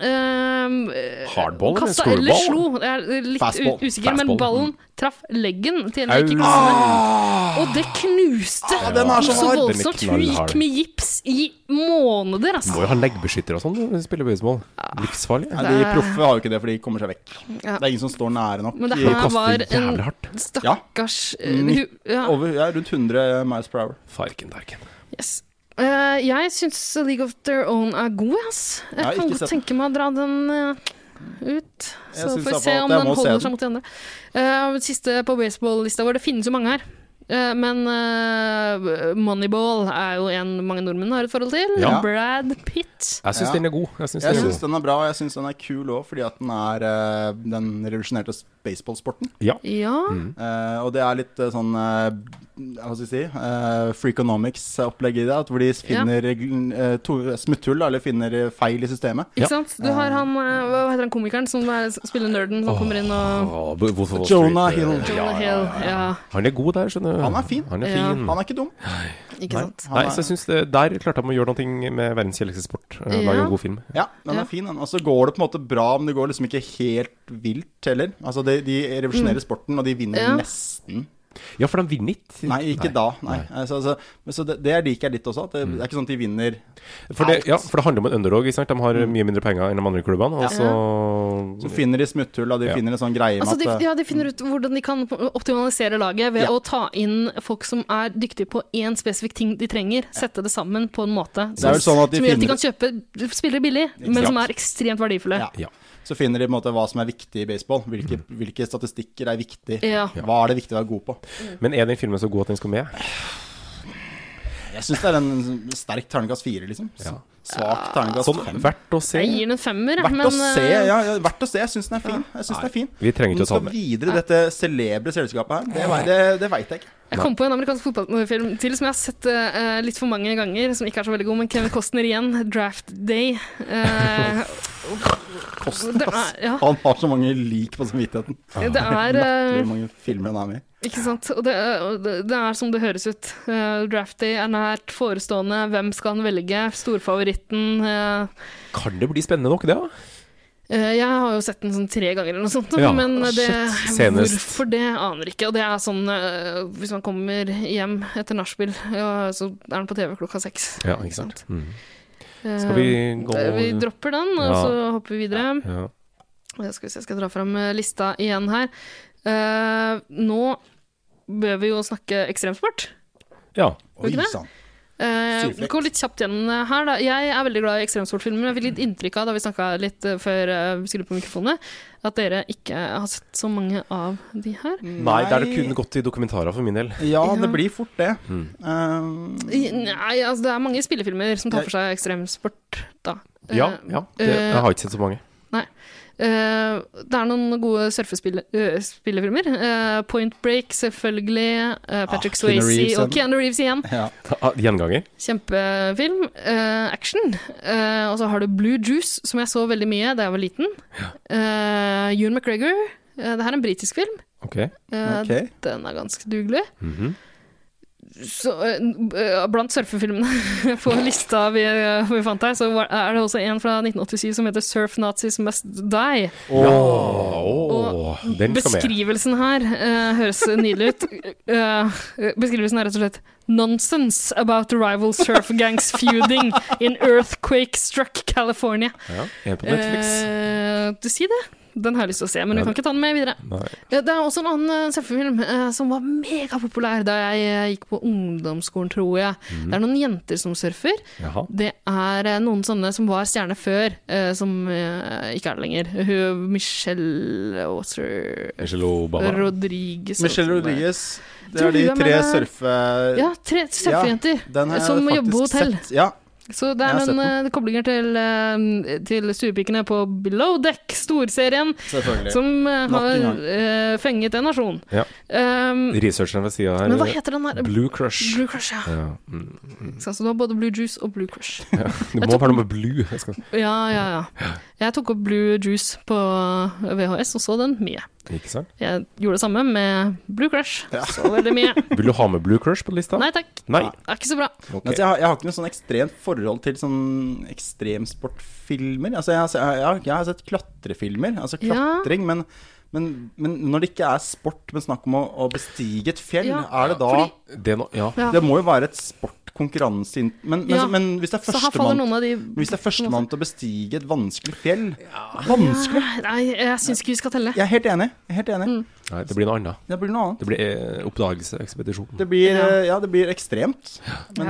eh, Hardball eller kasta eller scoreball? slo. Jeg er litt Fastball. u- usikker, men Fastball. ballen traff leggen til en av Au. kickerne. Og det knuste Ah, den er så hard. Den er voldsomt. Hun knallhard. gikk med gips i måneder, Må altså. jo ha leggbeskytter og sånn når du spiller baseball. Livsfarlig. Nei, de proffe har jo ikke det, for de kommer seg vekk. Ja. Det er ingen som står nære nok. Men det i- her kaster var jævlig hardt. en stakkars eh, Nitt- hu- ja. Over, ja, rundt 100 miles per hour. Farken derken. Yes. Eh, jeg syns League of Their Own er god, jeg, ass. Jeg Jeg har kan ikke godt sett den. tenke meg å dra den eh, ut. Så synes får vi jeg se får- om jeg den må se holder den. seg mot de andre. Eh, siste på baseball-lista vår. Det finnes jo mange her. Eh, men eh, Moneyball er jo en mange nordmenn har et forhold til. Ja. Brad Pitt. Jeg syns Ja. den er god. Jeg syns Jeg den er god. syns den er bra, og jeg syns den er kul òg, fordi at den er eh, Den revolusjonerte baseballsporten. Ja. Ja. Eh, og det er litt eh, sånn eh, Hva skal jeg si eh, Freakonomics-opplegg i det. At hvor de finner eh, to- smutthull, eller finner eh, feil i systemet. Ja. Ikke sant? Du har han eh, Hva heter han komikeren som er, spiller nerden, som kommer inn og Åh, Wolf of Wall Street, Jonah eh, Hill. Jonah Hill. Ja, Han er god der, skjønner du. Han er fin. Han er Ja. fin. Han er ikke dum. ikke sant. Nei, Han er- så jeg synes det, Der klarte han å gjøre noe med verdens kjedeligste sport. Eh, Lage Ja. en god film. Ja, den Ja. er fin, den. Og så går det på en måte bra, men det går liksom ikke helt vilt heller. Altså, de, de revolusjonerer sporten, og de vinner Mm. Ja. nesten. Ja, for de vinner ikke. Nei, ikke da. Nei. Altså, altså, men så det, det liker jeg litt også. At det, det er ikke sånn at de vinner For det, alt. ja, for det handler om en underdog. Ikke sant? De Mm. har mye mindre penger enn de andre klubbene. Og så Så finner de smutthull, og de Ja. finner en sånn greie med Altså de, at ja, de finner ut hvordan de kan optimalisere laget ved Ja. å ta inn folk som er dyktige på én spesifikk ting de trenger, sette det sammen på en måte Det er vel sånn at de som gjør at de finner- kan kjøpe spillere billig, men sant. som er ekstremt verdifulle. Ja. Ja. Så finner de på en måte hva som er viktig i baseball. Hvilke, hvilke statistikker er viktig. Ja. Hva er det viktig å være god på. Men er den filmen så god at den skal med? Jeg syns det er en sterk terningkast fire, liksom. Ja. Svak terningkast Sånn, fem. verdt å se. Jeg gir den en femmer, jeg, Verdt å men se, eh, ja, ja, verdt å se. Jeg syns den er fin. Jeg synes den er fin. Vi trenger ikke å ta Om den med. den skal videre i dette celebre selskapet her, det, vei- det, det veit jeg ikke. jeg kom på en amerikansk fotballfilm til som jeg har sett eh, litt for mange ganger, som ikke er så veldig god, men Kevin Costner igjen, 'Draft Day'. Eh, det er, ja, Han har så mange lik på samvittigheten. det er eh, Hvor mange filmer han er med i. Ikke sant. Og det, er- og det det er som det høres ut. Eh, draft day er nært forestående. Hvem skal han velge? Storfavoritten. eh. Kan det bli spennende nok, det? da? Eh, jeg har jo sett den sånn tre ganger eller noe sånt, Ja, men det, shit, senest. hvorfor det aner ikke. Og det er sånn eh, hvis man kommer hjem etter nachspiel, ja, så er den på TV klokka seks. Ja, ikke sant. Mm. Eh, Skal vi gå eh, vi dropper den, og Ja. så hopper vi videre. ja. Jeg skal, vi se, jeg skal dra fram eh, lista igjen her. Eh, nå bør vi jo snakke ekstremsport. ja. Ikke det? sann. Eh, Styreflekt. gå litt kjapt gjennom det her, da. Jeg er veldig glad i ekstremsportfilmer. Jeg fikk litt inntrykk av da vi snakka litt eh, før eh, vi skulle på mikrofonene, at dere ikke har sett så mange av de her. Nei, det er det kun gått i dokumentarer for min del. Ja. Ja, det blir fort det. Mm. Eh, I- Nei, altså det er mange spillefilmer som tar for seg ekstremsport, da. Eh, Ja, ja. Det, eh, jeg har ikke sett så mange. Eh, det er noen gode surfespillefilmer. Eh, Point Break, selvfølgelig. eh, Patrick Ah, Keanu Swayze Reeves og igjen. Keanu Reeves igjen. ja. Ah, Gjenganger? Kjempefilm. eh, action. Eh, og så har du Blue Juice, som jeg så veldig mye da jeg var liten. Eh, Ewan McGregor. Eh, det her er en britisk film. Ok. Eh, Ok. Den er ganske dugelig. Mhm. Så, eh, eh, blant surfefilmene på lista vi, eh, vi fant her, så var- er det også en fra 1987 som heter 'Surf Nazis Must Die'. Åh, den skal med. Beskrivelsen her eh, høres nydelig ut. Eh, beskrivelsen er rett og slett Nonsense about rival surf gangs feuding in earthquake struck California. Ja, en på Netflix. Eh, du sier det. Den har jeg lyst til å se, men vi kan ikke ta den med videre. Nei. Eh, Det er også en annen eh, surfefilm eh, som var megapopulær da jeg eh, gikk på ungdomsskolen, tror jeg. Mhm. Det er noen jenter som surfer. Jaha. Det er eh, noen sånne som var stjerner før, eh, som eh, ikke er det lenger. Hun- Michelle Water Michelle Obama. Rodriguez. Michelle og sånn der. Rodriguez. Det Du, er de hun er tre med der. surfe... Ja, tre surfejenter den har jeg som faktisk jobber på hotell. Sett. Ja, Så det Jeg er har noen sett eh, koblinger til, eh, til stuepikene på Below Deck, storserien, selvfølgelig. som eh, Nok en har gang. eh, fenget en nasjon. Ja. Um, Researcheren ved sida men hva her. heter den der? Blue Crush. Blue Crush, ja. Ja. mm. Ikke sant, Så du har både Blue Juice og Blue Crush. Det må være noe med blue. Jeg skal... Ja, ja, ja. Jeg tok opp Blue Juice på eh, VHS og så den mye. Ikke sant? Jeg gjorde det samme med Blue Crush. Så veldig mye. Vil du ha med Blue Crush på lista? Nei takk. Nei. Det er ikke så bra. Men altså, jeg, har, jeg har ikke noe sånn ekstremt forhold til sånn ekstremsportfilmer. Altså, jeg, har se- jeg, har- jeg har sett klatrefilmer, altså Ja. klatring, men, men, men når det ikke er sport, men snakk om å, å bestige et fjell, Ja, er det da fordi- Det er no... Ja. Ja. Det må jo være et sportkonkurranse men, men, Ja. men hvis det er Så her faller førstemann noen av de hvis det er førstemann til å bestige et vanskelig fjell Vanskelig! Nei, jeg syns ikke vi skal telle. Jeg er helt enig. Jeg er helt enig. Mm. Nei, det blir noe annet. Det blir noe annet. Det blir eh, oppdagelse, ekspedisjon. Det blir, Ja. eh, ja, det blir ekstremt. Men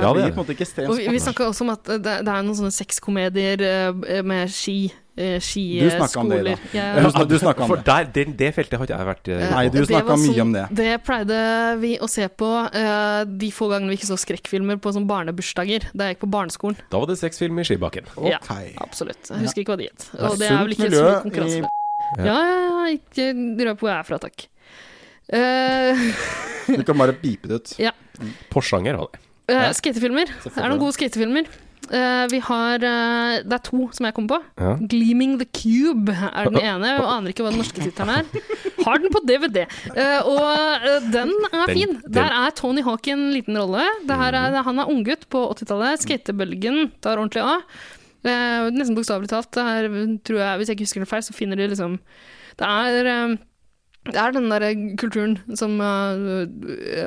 Ja, det det er blir på en måte ikke ekstremt Og vi, vi sport. snakka også om at eh, det, det er noen sånne sexkomedier eh, med ski. eh, Du snakka om det, Skiskoler. Ida. Jeg- Du snak- du snakka om For det. der, det, det feltet har ikke jeg vært eh, Nei, på. du Det var snakka mye om det. sånn- Det pleide vi å se på eh, de få gangene vi ikke så skrekkfilmer på sånn barnebursdager da jeg gikk på barneskolen. Da var det sexfilm i skibakken. Ja, Ok. absolutt. Jeg husker ikke hva de het. Og det er vel Sunt ikke så miljø mye konkurranse. i Ja, ja, ja, ikke røp hvor jeg er fra, takk. Eh, Du kan bare pipe det ut. Porsanger hadde jeg. eh, Ja. skatefilmer. Er det noen gode skatefilmer? Eh, vi har eh, Det er to som jeg kom på. Ja. 'Gleaming the Cube' er den ene. Jeg aner ikke hva den norske tittelen er. Har den på DVD. Eh, og eh, den er Den- fin. den- Mhm. Der er Tony Hawk i en liten rolle. Det her er, han er unggutt på 80-tallet. Skatebølgen tar ordentlig av. Eh, nesten bokstavelig talt. Det er, tror jeg, hvis jeg ikke husker det feil, så finner de liksom Det er, eh, det er den derre kulturen som uh,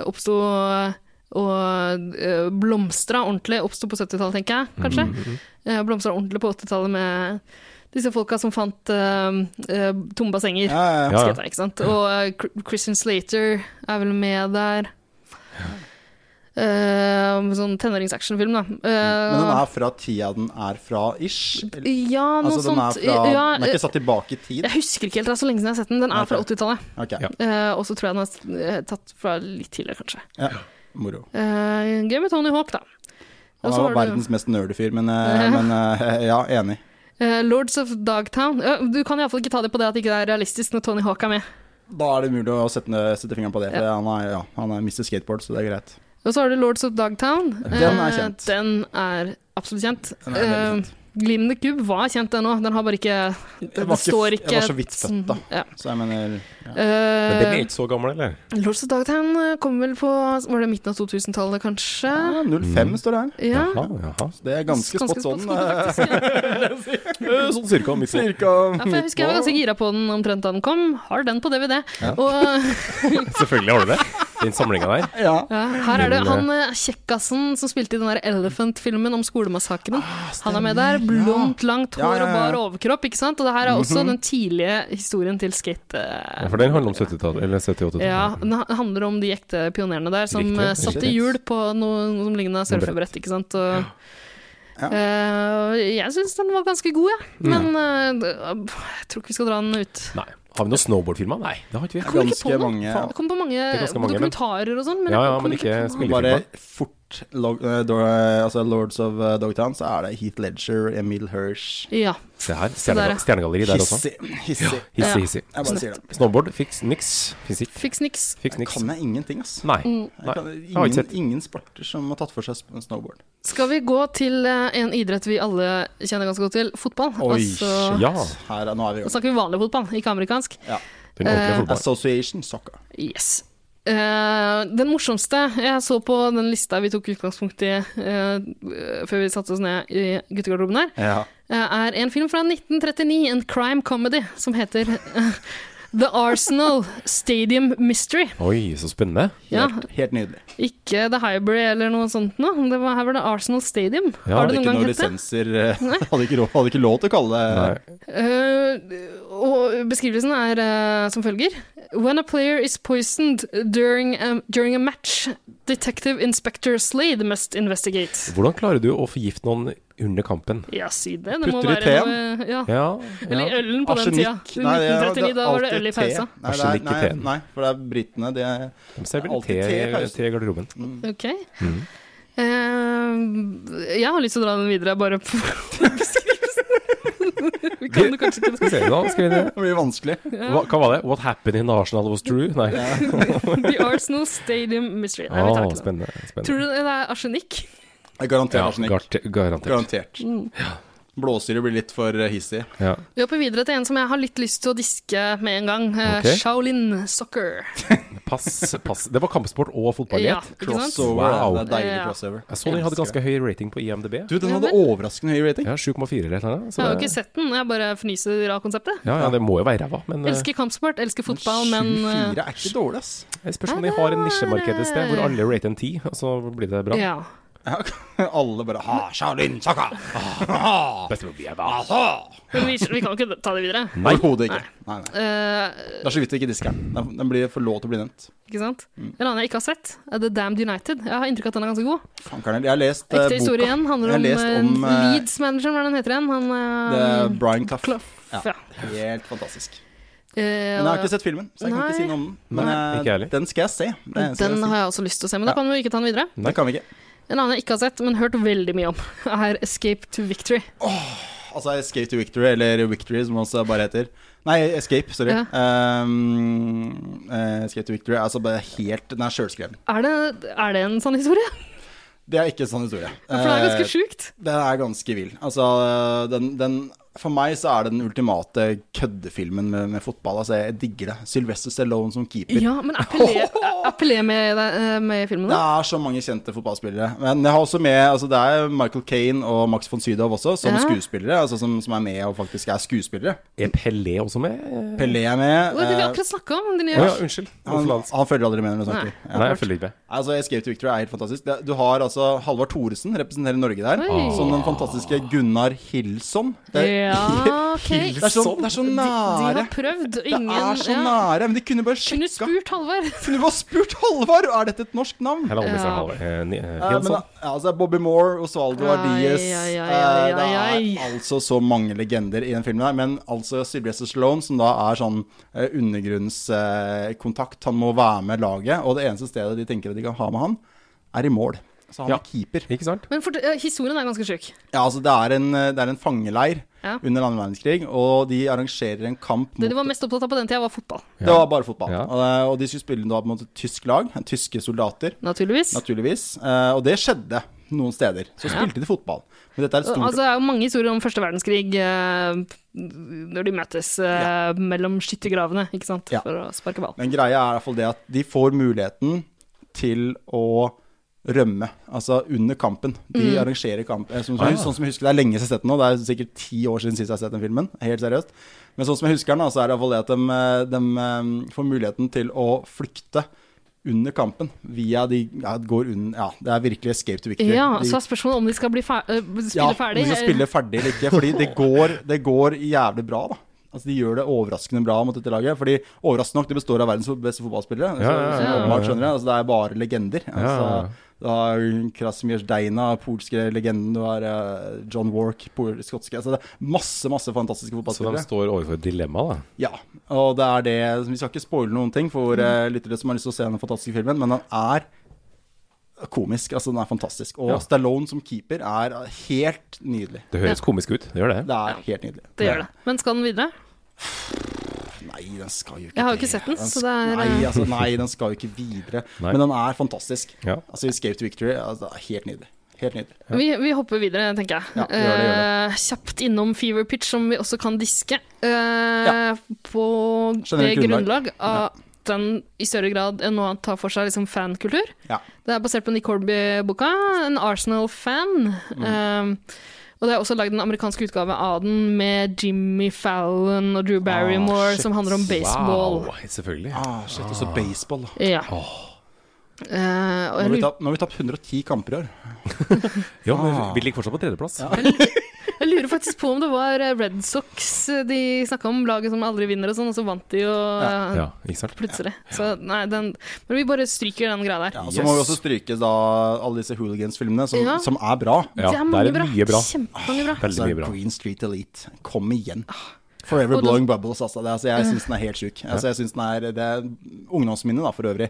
oppsto eh, og uh, blomstra ordentlig. Oppsto på 70-tallet, tenker jeg, kanskje. Mm, Eh, blomstra ordentlig på 80-tallet med disse folka som fant eh, eh, tomme bassenger. Ja, ja, ja. Ja, ja. Skate, ikke sant? Og eh, Chr- Christian Slater er vel med der. Eh, sånn tenåringsactionfilm, da. Eh, Mm, Men den er fra tida den er fra, ish? Eller- Ja, noe Altså, den er, sånt. fra, ja, eh, den er ikke satt tilbake i tid? jeg husker ikke helt, det er så lenge siden jeg har sett den. Den er fra Ok. 80-tallet. Ok, Ja. Eh, og så tror jeg den er s- eh, tatt fra litt tidligere, kanskje. moro. Eh, gøy med Tony Hawk, da. Og Han så var har du- verdens mest nerdy fyr, men, eh, men eh, ja, enig. Eh, Lords of Dogtown. Ja, du kan iallfall ikke ta det på det at det ikke er realistisk når Tony Hawk er med. Da er det mulig å sette, sette fingeren på det, for han, er, ja, han er Mr. Skateboard, så det er greit. Og så har du Lords of Dogtown. Den er Eh, kjent. Den er absolutt kjent. Den er veldig Eh, Glim the Cube var kjent, den òg. Den har bare ikke Det, Jeg det var ikke- står jeg ikke var så vidt født, da. Ja. Så jeg mener ja. Eh, Men den er ikke så gammel, eller? Lords of Dogtown eh, kom vel på Var det midten av 2000-tallet, kanskje? Ja, 05 står det her. Ja. Jaha, jaha. Så det er ganske spot on. eh, faktisk, ja. Eh, Sånn cirka midt på. Cirka Ja, for jeg husker jeg var ganske gira på den omtrent da den kom. Har den på DVD. Og Selvfølgelig har du det. den samlinga der. eh, Ja. Ja, her er det Men, eh, han eh, kjekkasen som spilte i den der Elephant-filmen om skolemassakren. han er med der. Blondt, langt hår Ah, Ja, ja, ja. og bar overkropp, ikke sant? Og det her er også den tidlige historien til skate. eh, Mhm. Ja, For den handler om 70-tallet, eller 78-tallet. Ja, den ha- handler om de ekte pionerene der som Riktig, eh, riktig. satte hjul på noe, noe som lignet surfebrett, ikke sant. Og, Eh, jeg syns den var ganske god, jeg. Mm. Men eh, d- jeg tror ikke vi skal dra den ut. Nei. Har vi noen snowboardfilmer? Nei, det har ikke vi. Kommer ikke på Ganske noe. mange. Det kom på mange, er ganske mange, men- dokumentarer og sånn, men, Ja, jeg ja, kom men ikke på noe. spillefilmer. Bare fort log, eh, do, eh, altså Lords of eh, Dogtown, så er det Heath Ledger, Emil Hirsch Ja. Se her. der, ja. Stjernega- Stjernegalleri der også. Hissig. Hissig. Hissig, Ja. hissig. Jeg bare sier det. Snowboard, fiks niks. Fysikk, Fiks niks. fiks niks. Kan jeg ingenting, ass. Nei. Mm. Jeg Nei. kan, Jeg har ikke ingen, sett. ingen sporter som har tatt for seg sp- snowboard. Skal vi gå til eh, en idrett vi alle kjenner ganske godt til? Fotball. Oi, altså, Ja. Her er, nå er vi i Nå gang. snakker vi vanlig fotball, ikke amerikansk. Den ordentlige Eh, altså- fotballen. Association soccer. Yes. Eh, den morsomste jeg så på den lista vi tok utgangspunkt i eh, før vi satte oss ned i guttegarderoben her, Ja. eh, er en film fra 1939, en crime comedy, som heter eh, The Arsenal Stadium Mystery. Oi, så spennende. Ja, Helt nydelig. ikke The Hybrid eller noe sånt noe. Det var, her var det Arsenal Stadium. Ja, Har Hadde det noen ikke gang noen hett det? lisenser eh, Hadde ikke, råd, hadde ikke lov til å kalle det Nei. Eh, og beskrivelsen er eh, som følger. When a player is poisoned during a, during a match, detective inspector Slade must investigate. Hvordan klarer du å forgifte noen under kampen? Ja, si det. Det må Putter i være teen? noe eh, ja. Ja, Eller i ja. ølen på den tida. I Nei, det er- 1939, da var det alltid øl i te. pausa. Nei, det Arsenikk er, i nei, teen. nei, for det er britene. De er De ser vel Alltid te te i pausen. te i garderoben. Ok. Mm. Eh, jeg har lyst til å dra den videre, bare på beskrivelsen. Vi kan det kanskje ikke Skal vi se, da skal vi det. Det blir vanskelig. Hva, hva var det? What happened in Arsenal was true? Nei. The Arsenal Stadium Mystery. Nei, vi Å, tar ikke den. spennende. spennende. Tror du det er arsenikk? Jeg garanterer Ja, arsenikk. garte- garantert. Garantert. Mm. Blåsyre blir litt for eh, hissig. Ja. Vi hopper videre til en som jeg har litt lyst til å diske med en gang. Eh, Ok. Shaolin soccer. Pass, pass. Det var kampsport og fotball i Ja, ett. ikke sant? Crossover. Wow. Det er deilig Ja. crossover. Jeg så den hadde ganske høy rating på IMDb. Du, den hadde overraskende høy rating. Ja, 7,4 eller noe. Jeg har jo sånt. ikke sett den, jeg bare fnyser av konseptet. Ja, ja, det må jo være ræva, men eh, Elsker kampsport, elsker fotball, men eh, 7-4 er ikke dårlig, ass. jeg spørs om de har en nisjemarked et sted hvor alle rater en 10, og så blir det bra. ja. Ja, alle bare ha, Shaolin soccer! Men vi, vi kan jo ikke ta det videre. Mm. Overhodet ikke. Nei, nei. Eh, Det er så vidt vi ikke disker den. den. Den blir for lov til å bli nevnt. ikke sant? Mm. En annen jeg ikke har sett, er The Damned United. Jeg har inntrykk av at den er ganske god. Faen, Karnel, jeg har lest eh, Ekte historie igjen. Handler om, Jeg har lest om, eh, eh, Leeds-manageren, hva er det den heter igjen? Han boka eh, til Brian Clough. Clough, ja. Helt fantastisk. Eh, Men jeg har ikke sett filmen, så jeg kan ikke si noe om den. Men Nei, eh, ikke heller. den skal jeg se. Det er det eneste Den jeg har jeg også lyst til å se, men da Ja. kan vi jo ikke ta den videre. sier. Den kan vi ikke. En annen jeg ikke har sett, men hørt veldig mye om, er Escape to Victory. Altså Escape to Victory, eller Victory som også bare heter. Nei, Escape, sorry. Ja. Um, eh, Escape to Victory. Altså bare helt Den er sjølskreven. Er det, er det en sånn historie? Det er ikke en sånn historie. For det er Eh, ganske sjukt. Den er ganske vill. Altså, den, den For meg så er det den ultimate køddefilmen med, med fotball. Altså, jeg digger det. Sylvester Stallone som keeper. Ja, men er Pelé, er Pelé med, i det- eh, med i filmen? Det da? er så mange kjente fotballspillere. Men jeg har også med altså det er Michael Kane og Max von Sydow også, som Ja. skuespillere. Altså som, som er med og faktisk er skuespillere. Er Pelé også med? Pelé er med. Å, det vi eh, akkurat snakka om. Den nye. Å ja, unnskyld. han, han følger aldri med når vi snakker. Ja. Nei, jeg følger ikke med. Altså, Escape to Victory er helt fantastisk. Det- Du har altså Halvard Thoresen representerer Norge der, Oi. som den fantastiske Gunnar Hilson. Det, Ja, ok. det, er, så, det er så De nære. har prøvd, og Det ingen er så ja. nære, men de kunne bare Kunne sjekka. spurt Halvard. Kunne bare spurt Halvard er dette et norsk navn. Eller Ja. eh, Ja, men, Hilson. ja, altså, Bobby Moore, Osvaldo Ai, Ardies ai, ai, eh, Det ai, ai. er altså så mange legender i den filmen her. Men altså Sylvester Stallone, som da er sånn undergrunnskontakt, han må være med laget. Og det eneste stedet de tenker at de kan ha med han, er i mål. Så han Ja. er keeper. Ikke sant? Men fort- eh, historien er ganske sjuk. Ja, altså det er en, det er en fangeleir Ja. under annen verdenskrig, og de arrangerer en kamp mot Det de var mest opptatt av på den tida, var fotball. Det var bare fotball. Ja. Og, og de skulle spille da på en måte tysk lag, tyske soldater, Naturligvis. naturligvis. Eh, og det skjedde noen steder. Så spilte de fotball. Men dette er et stort Altså, det er jo mange historier om første verdenskrig eh, når de møtes eh, mellom skyttergravene, ikke sant, Ja. for å sparke ball. Men greia er i hvert fall det at de får muligheten til å rømme, altså under kampen. De Mm. arrangerer kamp. eh, Som, som, Sånn som jeg husker, det er lenge siden jeg har sett den nå, det er sikkert ti år siden sist jeg har sett den filmen, helt seriøst. Men sånn som jeg husker den, da, så er det i hvert fall det at de, eh, de eh, får muligheten til å flykte under kampen. Via de ja, går under, ja, Det er virkelig escape to victory. Ja, de, så er spørsmålet om de skal bli fer eh, spille ja, ferdig. Om de skal spille ferdig eller ikke. Fordi det går, det går jævlig bra, da. Altså, de gjør det overraskende bra mot dette laget. Fordi overraskende nok, det består av verdens beste fotballspillere. Ja, ja, Så, ja, så ja, åpenbart, ja. skjønner jeg. Altså, det er bare legender. Altså, Ja, ja. Du har Krasimir Deina, polske legenden. Du har eh, John Wark, pol- skotske. Altså, det er masse, masse fantastiske Så de fotballspillere. står overfor et dilemma, da. Ja, og det er det altså, Vi skal ikke spoile noen ting for våre lyttere som har lyst til å se den fantastiske filmen, men den er komisk. Altså, den er fantastisk. Og Ja. Stallone som keeper er helt nydelig. Det høres komisk ut, det gjør det. Det er helt nydelig. Det gjør det. Men skal den videre? Nei, den skal jo ikke Jeg har jo det. ikke sett den, så sk- det er, Nei, eh, altså, nei, den skal jo ikke videre. Nei. Men den er fantastisk. Ja. Altså, Escape to Victory altså, det er helt nydelig. Helt nydelig. Vi, vi hopper videre, tenker jeg. Ja, gjør det, gjør Eh, kjapt innom Fever Pitch, som vi også kan diske. eh, På det Generelt grunnlag grunnlag. at den i større grad enn noe annet tar for seg liksom fankultur. Ja. Det er basert på Nick Hornby-boka, en Arsenal-fan. Mm. Eh, og det er også lagd en amerikansk utgave av den med Jimmy Fallon og Drew Barrymore, som handler om baseball. Wow, selvfølgelig. Ah, shit, og så baseball. da. Ja. Eh, og Nå jeg har vi lurer, tapt, nå har vi tapt 110 kamper i år. Ja, men ah. vi ligger fortsatt på tredjeplass. jeg lurer faktisk på om det var eh, Red Sox eh, de snakka om, laget som aldri vinner og sånn, og så vant de jo eh, Ja, ikke sant. plutselig. Så nei, den Men vi bare stryker den greia der. Ja, så må vi også stryke da alle disse hooligans-filmene, som, Ja. som er bra. Ja, det er der mange er bra. mye bra. Kjempemange bra. Veldig mye bra. Altså, Green Street Elite, kom igjen. Forever Ah. Og da- Blowing Bubbles, altså. Det, altså jeg syns den er helt sjuk. Altså, jeg synes den er, det er ungdomsminne, da, for øvrig.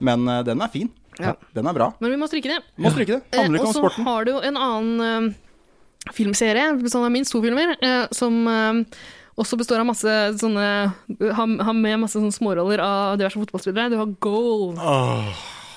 Men eh, den er fin. Mm. Ja. Den er bra. Men vi må stryke det. Må stryke det. Eh, Handler og ikke om så sporten. har du jo en annen eh, filmserie, som er minst to filmer, eh, som eh, også består av masse sånne Har har med masse sånne småroller av diverse fotballspillere. Du har Goal.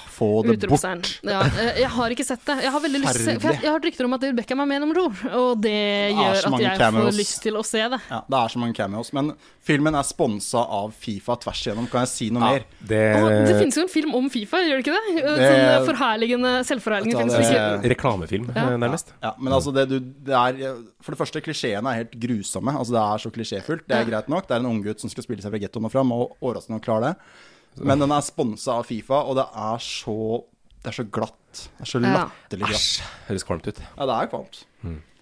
Få det bort. Utropstegn. Ja, eh, jeg har ikke sett det. Jeg har veldig lyst til for jeg, jeg har hørt rykter om at David Beckham er med i nummer to, og det Ah, gjør så at mange jeg cameos. får lyst til å se det. Ja, det er så mange cameos. Men filmen er sponsa av Fifa tvers igjennom. Kan jeg si noe mer? Det, Og det finnes jo en film om Fifa, gjør det ikke det? Eh, Eh, Det- Sånn forherligende, selvforherligende film. Vet du hva, som ikke- det- Reklamefilm, eh, nærmest. Ja, men altså det, du, det er For det første, klisjeene er helt grusomme. Altså Det er så klisjéfullt. Det er greit nok. Det er en unggutt som skal spille seg fra gettoen og fram, og overraskende nok klarer det. Men den er sponsa av Fifa, og det er så Det er så glatt. Det er så Ja. latterlig glatt. Høres kvalmt ut. Ja, det er kvalmt.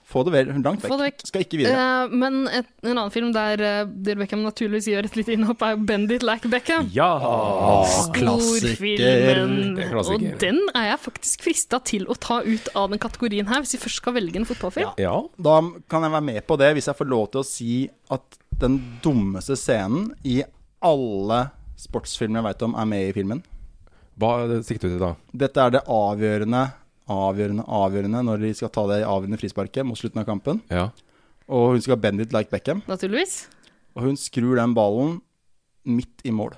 Få det vel langt vekk. Få det vekk. Skal ikke videre. Eh, men et, en annen film der uh, David Beckham naturligvis gjør et lite innhopp, er jo Bendit Lack Beckham. Ja! klassiker. Det er klassiker. Og den er jeg faktisk frista til å ta ut av den kategorien her, hvis vi først skal velge en fotballfilm. Ja. Da kan jeg være med på det, hvis jeg får lov til å si at den dummeste scenen i alle sportsfilmer jeg veit om, er med i filmen. Hva sikter du til da? Dette er det avgjørende, avgjørende, avgjørende når de skal ta det avgjørende frisparket mot slutten av kampen. Ja. Og hun skal bend it like Beckham. Naturligvis. Og hun skrur den ballen midt i mål.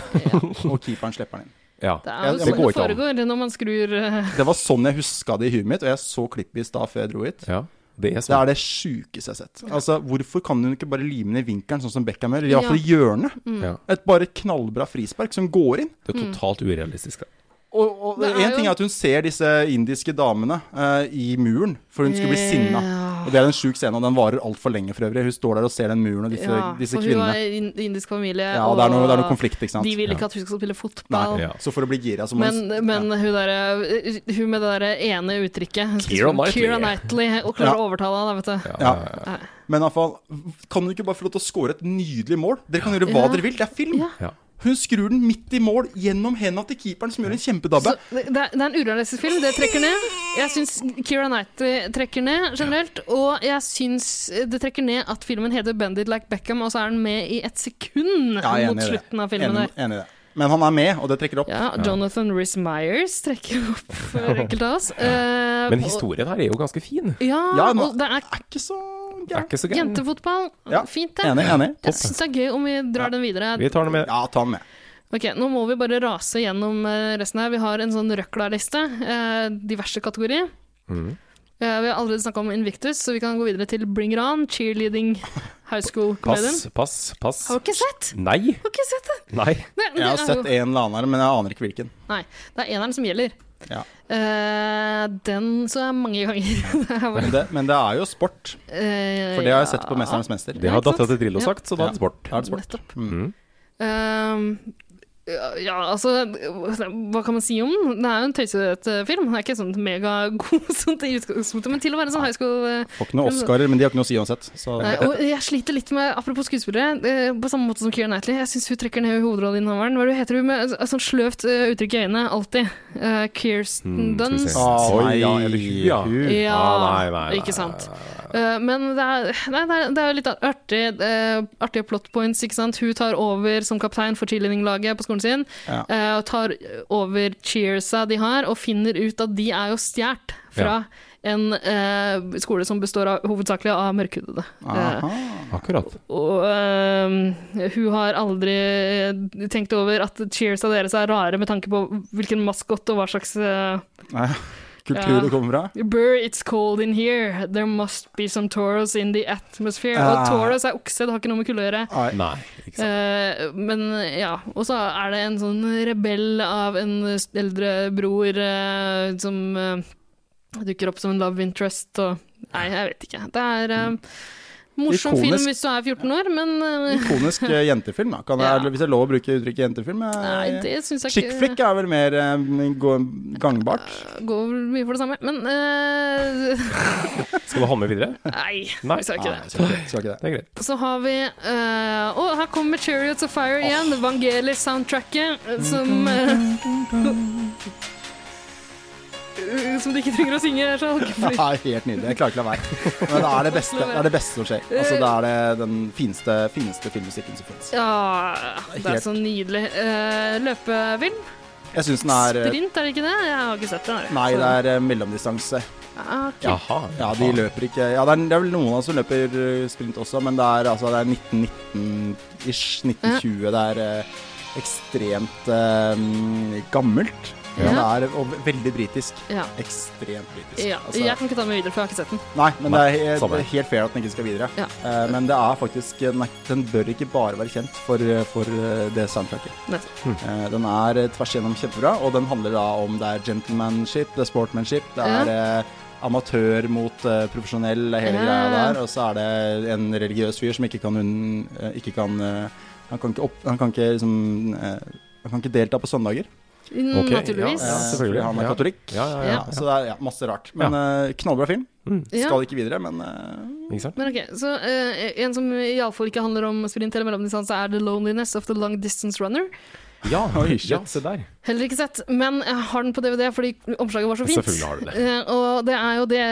og keeperen slipper den inn. ja. Det er jo Ja, det sånn går det ikke an. foregår når man skrur eh, Det var sånn jeg huska det i huet mitt, og jeg så klippet i stad før jeg dro hit. ja. Det er Det sånn. er det sjukeste jeg har sett. Altså, Hvorfor kan hun ikke bare lime den i vinkelen, sånn som Beckham gjør? Eller Ja. iallfall i hjørnet. Mm. Ja. Et bare knallbra frispark som går inn. Det er totalt urealistisk. da. Og, og Det er en jo- ting er at hun ser disse indiske damene eh, i muren, for hun skulle bli sinna. Ja. Og det er en sjuk scene, og den varer altfor lenge for øvrig. Hun står der og ser den muren og disse, Ja, disse for hun har kvinnene. in- indisk familie, Ja, og det er noe, det er noe konflikt, ikke sant. de vil ikke at hun skal spille fotball. Nei, Ja. Så for å bli gira, så må Men, hun men hun, derre- eh, hun med det der ene uttrykket hun skal Keira spille Knightley. Keira Knightley. eh, Og klarer Ja. å overtale henne, vet du. ja. Men iallfall, kan hun ikke bare få lov til å score et nydelig mål? Dere kan gjøre hva Ja. dere vil, det er film. Ja. Ja. Hun skrur den midt i mål, gjennom henda til keeperen, som gjør en kjempedabbe. Så det, det er det er en urealistisk film. Det trekker ned. Jeg syns Keira Knightley trekker ned generelt. Og jeg syns det trekker ned at filmen heter 'Bendit like Beckham', og så er den med i et sekund Ja, jeg er mot enig i det. slutten av filmen. Enig, der. enig i det. Men han er med, og det trekker opp. Ja, Jonathan Rhys Myers trekker opp for enkelte av oss. Eh, Men og- historien her er jo ganske fin. Ja, Ja, nå- og det er Er ikke så Det er gæren. ikke så gæren. jentefotball. Ja, Fint, det. Enig, enig. Jeg syns det er gøy om vi drar den videre. Vi tar den med. Ja, ta den med. Ok, Nå må vi bare rase gjennom eh, resten her. Vi har en sånn røkla-liste. Eh, diverse kategorier. Mm. Eh, vi har allerede snakka om Invictus, så vi kan gå videre til Bring It On, cheerleading high school comedian. Pass, pass, pass. Har du ikke sett? Nei. Har du ikke sett det? Nei. Nei, men Jeg har det er sett jo- en eller annen her, men jeg aner ikke hvilken. Nei, det er eneren som gjelder. Ja. Eh, den så jeg mange ganger. Det er bare- Men det, men det er jo sport, Eh, for det har jeg sett ja. på 'Mesternes mester'. Det har ikke sant? dattera til Drillo Ja. Mm. sagt, så da er det sport. Da er det sport. Nettopp. Um, Ja, altså, hva kan man si om den? Det er jo en tøysete film. Den er ikke sånn megagod sånt i utgangspunktet, men til å være sånn high school eh, Får ikke noen Oscarer, men de har ikke noe å si uansett. Så Nei, og jeg sliter litt med, apropos skuespillere, eh, på samme måte som Keira Knightley, jeg syns hun trekker ned hovedrollen i Hammeren. Hva er det hun heter hun med et sånt sløvt eh, uttrykk i øynene, alltid? Eh, Mm, Kirsten skal vi se. Dunst. Å, nei, Oi, eller hu- ja. hu. Ja, Ah, nei, nei, nei, ikke sant. nei, Eh, men det er, nei, det er, det er jo litt artig, eh, artige plot points, ikke sant. Hun tar over som kaptein for cheerleadinglaget på skolen sin, Ja. eh, og tar over cheersa de har, og finner ut at de er jo stjålet fra en eh, skole som består av, hovedsakelig av mørkhudede. Eh, Aha. Akkurat. og øhm, hun har aldri tenkt over at cheersa deres er rare med tanke på hvilken maskott og hva slags øh, Nei, Kultur Ja. det kommer fra. Burr, it's cold in here. There must be some toros in the atmosphere. Ah. Og toros er okse, det har ikke noe med kulde å gjøre. Nei. Nei, ikke sant. Eh, men ja, og så er det en sånn rebell av en eldre bror eh, som eh, dukker opp som en love interest og Nei, jeg vet ikke. Det er eh, morsom Mm. Ikonisk. film hvis du er 14 år, men eh, Ikonisk eh, jentefilm, da. Kan jeg, Ja. eller Hvis det er lov å bruke uttrykket jentefilm? eh, Nei, det syns jeg Chick flick er vel mer eh, gå- gangbart. Går vel mye for det samme, men eh, Skal du ha med videre? Nei, Nei. vi skal ikke det. Skal ikke- skal ikke det. Det er greit. Så har vi eh, Å, her kommer 'Chariots of Fire' igjen. Vangelis-soundtracket eh, som eh, Som de ikke trenger å synge. Så jeg holder ikke Ja, helt nydelig. Jeg klarer ikke å la være. Men det er det beste, det er det beste som skjer. Altså, det er det, den fineste, fineste filmmusikken som fins. for- ja, det er så nydelig. Eh, løpefilm? Jeg syns den er eh, Sprint, er det ikke det? Jeg har ikke sett den. jeg. Nei, Så- det er eh, mellomdistanse. Ah, ok. Jaha. Ja, de løper ikke Ja, det er, det er vel noen av oss som løper eh, sprint også, men det er altså det er 1919-ish, 1920. Det er eh, ekstremt eh, gammelt. Ja. Det Ja. er og ve- veldig britisk. Ja. Ekstremt britisk. ja. Altså- Jeg kan ikke ta med videre, for jeg har ikke sett den. Nei, men Nei, det er helt, samme. helt fair at den ikke skal videre. Ja. Eh, men det er faktisk den, er- den bør ikke bare være kjent for, eh, for eh, det soundtracket. Nettopp. Eh, den er eh, tvers igjennom kjempebra, og den handler da om det er gentlemanship, det er sportmanship, det er eh, amatør mot eh, profesjonell, det er hele Ja. greia der. Og så er det en religiøs fyr som ikke kan unn... eh, ikke kan eh, Han kan ikke opp... Han kan ikke liksom eh, Han kan ikke delta på søndager. Ok, Naturligvis. Ja, eh, selvfølgelig. Fordi han er Ja. katolikk. Ja, ja, ja. Ja. Så det er ja, masse rart. Men eh, knallbra film. Ja. Skal ikke videre, men eh, Ikke sant? Men ok, så eh, En som iallfall ikke handler om sprint eller mellomdistanse, er The Loneliness of the Long Distance Runner. Ja, Oi, shit. ja, se der. Heller ikke sett, men jeg har den på DVD fordi omslaget var så fint. Selvfølgelig har du det. Eh, og det er jo det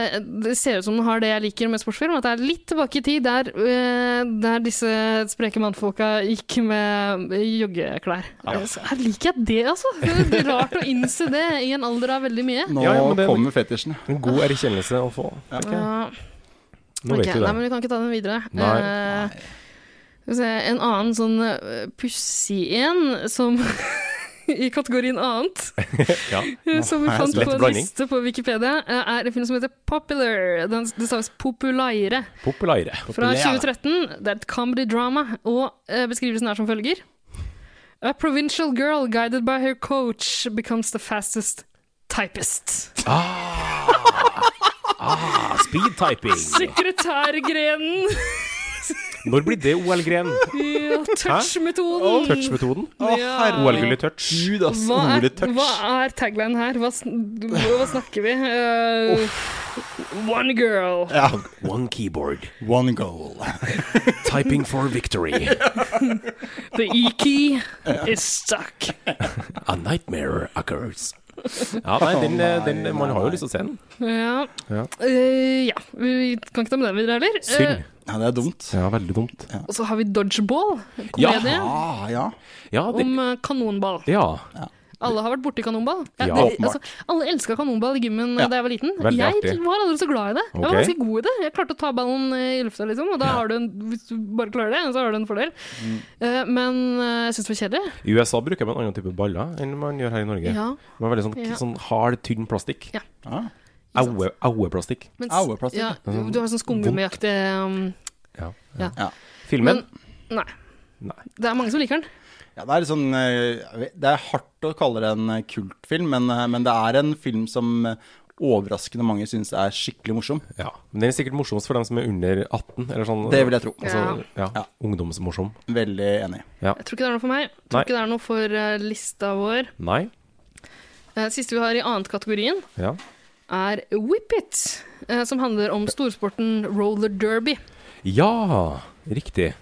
Det ser ut som den har det jeg liker med sportsfilm, at det er litt tilbake i tid der, eh, der disse spreke mannfolka gikk med joggeklær. Eh, så Her liker jeg det, altså! Det er rart å innse det i en alder av veldig mye. Nå Ja, ja, men det- kommer fetisjen. En god erkjennelse å få. Ja. Nå Ok, vet du Nei, men det. vi kan ikke ta den videre. Nei. Eh, skal vi se, en annen sånn eh, pussig en som I kategorien annet, Ja. eh, som vi Nå er det fant lett på en blanding. liste på Wikipedia, eh, er en film som heter Popular. Den, det staves Populære Populære. fra 2013. Det er et comedy drama, og eh, beskrivelsen er som følger. A provincial girl guided by her coach becomes the fastest typist. Speed typing. Sekretærgrenen! Når blir det OL-gren? Ja, touch-metoden! Touch-metoden? Ja. OL-gull i touch. Gud, ass. Hva er, Ordet touch. hva er tagline her? Hva, sn- hva snakker vi? Eh, one girl. One keyboard. One goal. Typing for victory. The E-key is stuck. A nightmare occurs. Ja, nei, den, eh, den, man har jo lyst til å se den. Ja. Ja. Eh, ja. Vi kan ikke ta med den videre heller. Eh, Synd. Ja, det er dumt. Ja, veldig dumt. og så har vi dodgeball, komedie Ah, ja. Ja, det, om eh, kanonball. ja. Alle har vært borti kanonball. Ja, Ja. det, altså, alle elska kanonball i gymmen eh, Ja. da jeg var liten. Veldig jeg artig. var aldri så glad i det. Jeg var Ok. ganske god i det. Jeg klarte å ta ballen eh, i lufta, liksom. Og da har du en, hvis du bare klarer det, så har du en fordel. Mm. Eh, men eh, jeg syns det var kjedelig. I USA bruker man annen type baller enn man gjør her i Norge. Ja. Det var veldig sånn, Ja. sånn hard, tynn plastikk. Ja. Ah. Aue- Aue-plastikk. Mens, Hourplastikk, ja, du har sånn skumgummiaktig um, Ja. Ja. Ja. Filmen? Nei. Nei. Det er mange som liker den. Ja, det er litt sånn eh, Det er hardt å kalle det en eh, kultfilm, men, eh, men det er en film som eh, overraskende mange syns er skikkelig morsom. Ja. Men den er sikkert morsomst for dem som er under 18, eller sånn. Det vil jeg tro. Altså, ja. Ja. Ungdomsmorsom. Veldig enig. Jeg tror ikke det er noe for meg. Jeg Nei. tror ikke det er noe for eh, lista vår. Nei. Eh, Siste vi har i annet kategorien, Ja. er Whip It, eh, som handler om storsporten roller derby. ja. Riktig.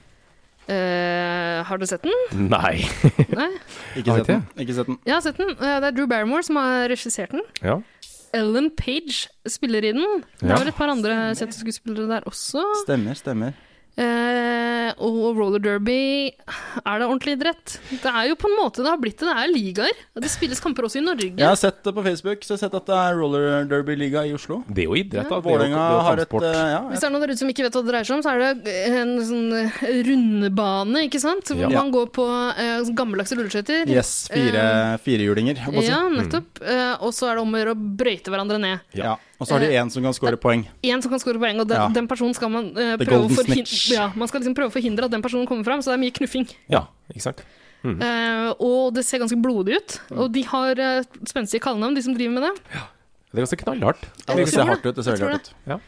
Eh, har du sett den? Nei. Nei? Ikke Har sett den. Ikke sett den. Jeg har sett den. Eh, Det er Drew Barrymore som har regissert den. Ja. Ellen Page spiller i den. Det Ja. var et par andre kjente skuespillere der også. Stemmer, stemmer. Eh, og roller derby, er det ordentlig idrett? Det er jo på en måte det har blitt det. Det er ligaer. Det spilles kamper også i Norge. Jeg har sett det på Facebook, så jeg har sett at det er roller derby-liga i Oslo. Det er jo idrett, da. Det er jo- Vålerenga det er jo har et kampsport. eh, ja, Hvis det er noen der ute som ikke vet hva det dreier seg om, så er det en sånn eh, rundebane, ikke sant? Hvor Ja. man går på eh, gammeldagse rulleskøyter. Yes, fire, firehjulinger. jeg må si. Eh, Ja, Mm. nettopp. Eh, og så er det om å gjøre å brøyte hverandre ned. Ja. Og så har de Eh, én som kan score poeng. Én som kan score poeng, og den, Ja. den personen skal man eh, The prøve å golden forhindre snitch. ja, Man skal liksom prøve å forhindre at den personen kommer fram, så det er mye knuffing. Ja, ikke sant. Mm. Eh, og det ser ganske blodig ut. Og de har eh, spenstige kallenavn, de som driver med det. Det er ganske knallhardt. Ja, det Jeg ser tror hardt det. ut. Det ser Jeg veldig tror hardt ut.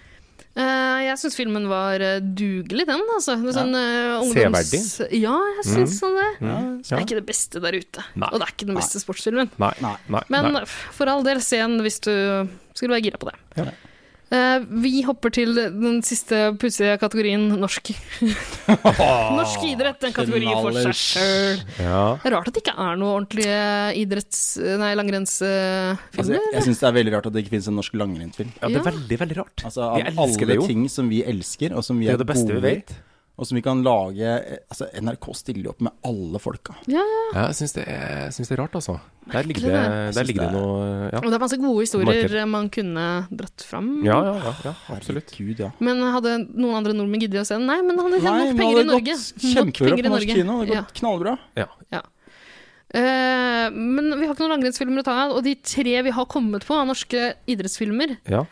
Eh, jeg syns filmen var eh, dugelig, den. Altså. Det er Sånn, eh, ungdoms... Severdig. Ja, jeg syns Mm. sånn det. Det Ja. er ikke det beste der ute. Nei. Og det er ikke den beste sportsfilmen. Nei. Nei. Nei. Men Nei. f- for all del, se den hvis du skulle være gira på det. Ja. Eh, vi hopper til den siste pussige kategorien norsk. norsk idrett, en kategori for seg sjøl. Ja. Det er rart at det ikke er noe ordentlige idretts... eh, Nei, Altså, langrennsfilmer. jeg jeg syns det er veldig rart at det ikke finnes en norsk langrennsfilm. ja, det er Ja. veldig, veldig rart. Altså, Vi av elsker alle det jo. ting som vi elsker, og som vi Det er er, jo det beste vi gode i, vet. og som vi kan lage eh, Altså, NRK stiller jo opp med alle folka. ja, ja. Ja, jeg syns det, er- jeg syns det er rart, altså. Der ligger Merkelig, det, det. der ligger det noe Ja, Og det er masse gode historier Marker. man kunne dratt fram. ja, ja, ja, ja absolutt. Herregud, ja. Men hadde noen andre nordmenn giddet å se den? Nei, men det handler Nei, om nok men penger i det hadde Norge. gått Nok kjempebra penger i på norsk Norge. kino. Det hadde Ja. gått knallbra. Ja. Eh, men vi har ikke noen langrennsfilmer å ta av, og de tre vi har kommet på av norske idrettsfilmer, ja.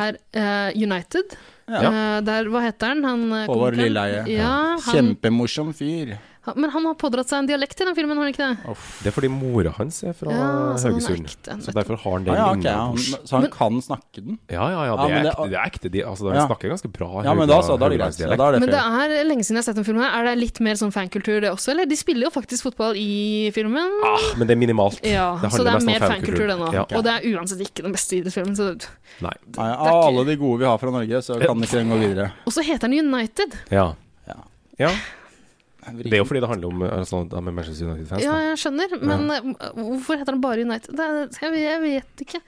er eh, United. Ja. Eh, der, hva heter han? han eh, Håvard komikeren? Lilleheie. Ja, han, Kjempemorsom fyr. han, men han har pådratt seg en dialekt i den filmen, har han ikke det? Det er fordi mora hans er fra Ja, altså, så han er Haugesund, ekte, så derfor har han Ja, den Ah, ja, ok, ja. lignende han- Så han kan snakke den? Ja, ja, ja, Ja, det men er det- ekte. Det er ekte. De, altså, de Ja. snakker ganske bra Ja, men da, så, da er det greit. Ja, da er det Men det fair. er lenge siden jeg har sett den filmen. her. Er det litt mer sånn fankultur det også, eller? De spiller jo faktisk fotball i filmen. Ah, men det er minimalt. Ja, handler så det er mest om mer fankultur det nå. Ja. Og det er uansett ikke den beste idrettsfilmen. Så... Nei. Nei, Av alle de gode vi har fra Norge, så kan ikke den gå videre. Og så heter den United. Ja. Ja. ja. Det er jo fordi det handler om altså, de er Manchester United-fans. Ja, da. jeg skjønner, men eh, hvorfor heter den bare United? Det er, jeg, vet- jeg vet ikke.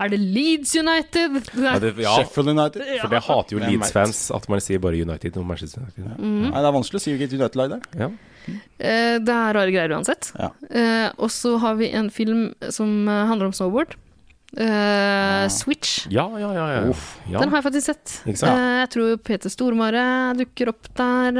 Er det Leeds United? Det Ja, er, det, ja, Sheffield United. Ja. for det hater jo Hvem Leeds-fans, at man sier bare United og Manchester United. Mhm. Nei, det er vanskelig å si hvilket United-lag det er. Ja. eh, det er rare greier uansett. Ja. Eh, og så har vi en film som eh, handler om snowboard. Eh, Switch. Ja, ja, ja. ja. ja. Den har jeg faktisk sett. Ikke sant? Eh, jeg tror Peter Stormare dukker opp der.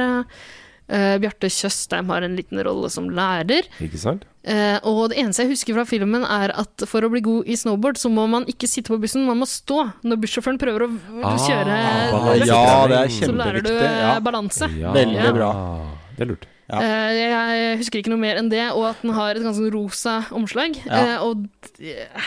Eh, Bjarte Tjøstheim har en liten rolle som lærer. Ikke sant? Eh, og det eneste jeg husker fra filmen, er at for å bli god i snowboard, så må man ikke sitte på bussen, man må stå når bussjåføren prøver å v- Ah, kjøre. balanse. løft. Ja, det er Så lærer du kjempeviktig. eh, Ja. balanse. Ja. Veldig bra. Det er lurt. Ja. Eh, jeg husker ikke noe mer enn det, og at den har et ganske sånn rosa omslag. Eh, og d- eh,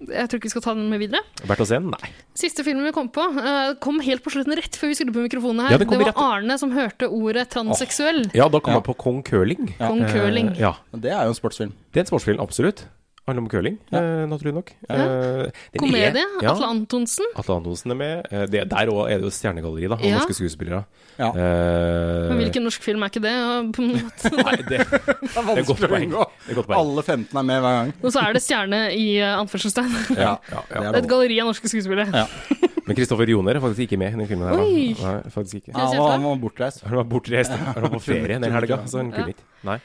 jeg tror ikke vi skal ta den med videre. Verdt å se den? Nei. Siste filmen vi kom på, eh, kom helt på slutten, rett før vi skulle på mikrofonene her. Ja, den det, kom var rett- Arne som hørte ordet transseksuell. Ja, da kom Ja. man på Kong Curling. Kong Eh, curling. Ja. Men Det er jo en sportsfilm. Det er en sportsfilm, absolutt. Handler om curling, eh, naturlig nok. Eh, den Komedie. er- ja. Atle Antonsen. Atle Antonsen er med. Eh, Det, der òg er det jo stjernegalleri, da. Og Ja. norske skuespillere. Ja. Eh, Men hvilken norsk film er ikke det? Og på en måte- Nei, det, Det er det er godt poeng. Det er godt poeng. Alle 15 er med hver gang. Og så er det stjerne i eh, anførselstegn. Ja, ja, ja. Det er et galleri av norske skuespillere. Ja. Men Kristoffer Joner er faktisk ikke med i den filmen. Her, da. Oi. Nei, faktisk ikke. Ja, han var- han var bortreist. Han var bortreist. Han var på ferie den helga, så han kunne ikke. Nei.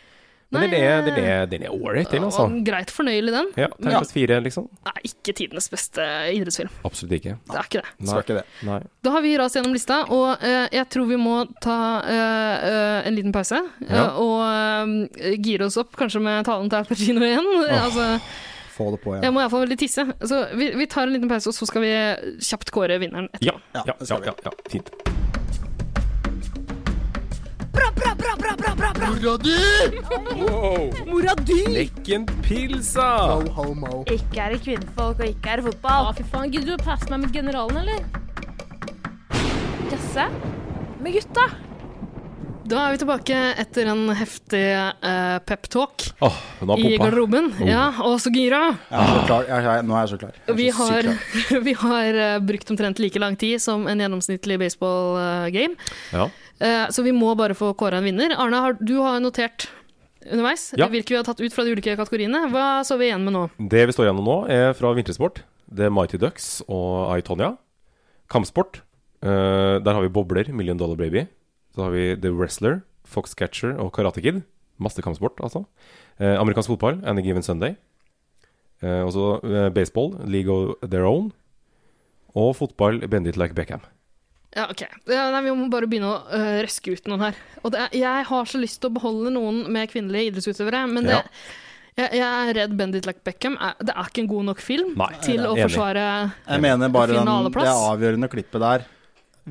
Men den er, den er, den er ålreit, den, altså. Og greit fornøyelig, den. Ja, Terningkast fire, liksom. Det er ikke tidenes beste idrettsfilm. Absolutt ikke. Det er ikke det. Nei. Skal ikke det. Nei. Da har vi rast gjennom lista, og eh, jeg tror vi må ta eh, eh, en liten pause. eh, Ja. og eh, gire oss opp, kanskje med talen til Al Pacino igjen. Altså, Få det på jeg igjen. må iallfall veldig tisse. Så vi, vi tar en liten pause, og så skal vi kjapt kåre vinneren etterpå. Ja, ja, Ja, det ja, skal vi. ja, ja. Fint. Bra, bra, bra, bra, bra, bra, bra! Wow. Mora di! Lekken pilsa! Ikke er det kvinnefolk, og ikke er det fotball. Å, fy faen. Gidder du å passe meg med generalen, eller? Jasse med gutta. Da er vi tilbake etter en heftig eh, pep-talk Åh, hun har i pumpa. garderoben. Ja, og så gira. Jeg er så klar. Jeg, jeg, nå er jeg så klar. Jeg er Vi så sykt har, klar. vi har eh, brukt omtrent like lang tid som en gjennomsnittlig baseball-game. Eh, Ja. så vi må bare få kåra en vinner. Arne, har, du har notert underveis Ja. hvilke vi har tatt ut fra de ulike kategoriene. Hva så vi igjen med nå? Det vi står gjennom nå, er fra vintersport. Det er Mighty Ducks og I, Tonya. Kampsport. eh, der har vi bobler, Million Dollar Baby. Så har vi The Wrestler, Foxcatcher og Karate Kid. Masse kampsport, altså. Eh, amerikansk fotball, Any Given Sunday. Uh, og så eh, baseball, League of Their Own. Og fotball, Bend It Like Beckham. Ja, ok. Ja, nei, vi må bare begynne å eh, røske ut noen her. Og det er, jeg har så lyst til å beholde noen med kvinnelige idrettsutøvere, men det, Ja. jeg, jeg er redd Bend It Like Beckham er, Det er ikke en god nok film Nei, til å enig. forsvare Jeg mener bare den, Finaleplass. det avgjørende klippet der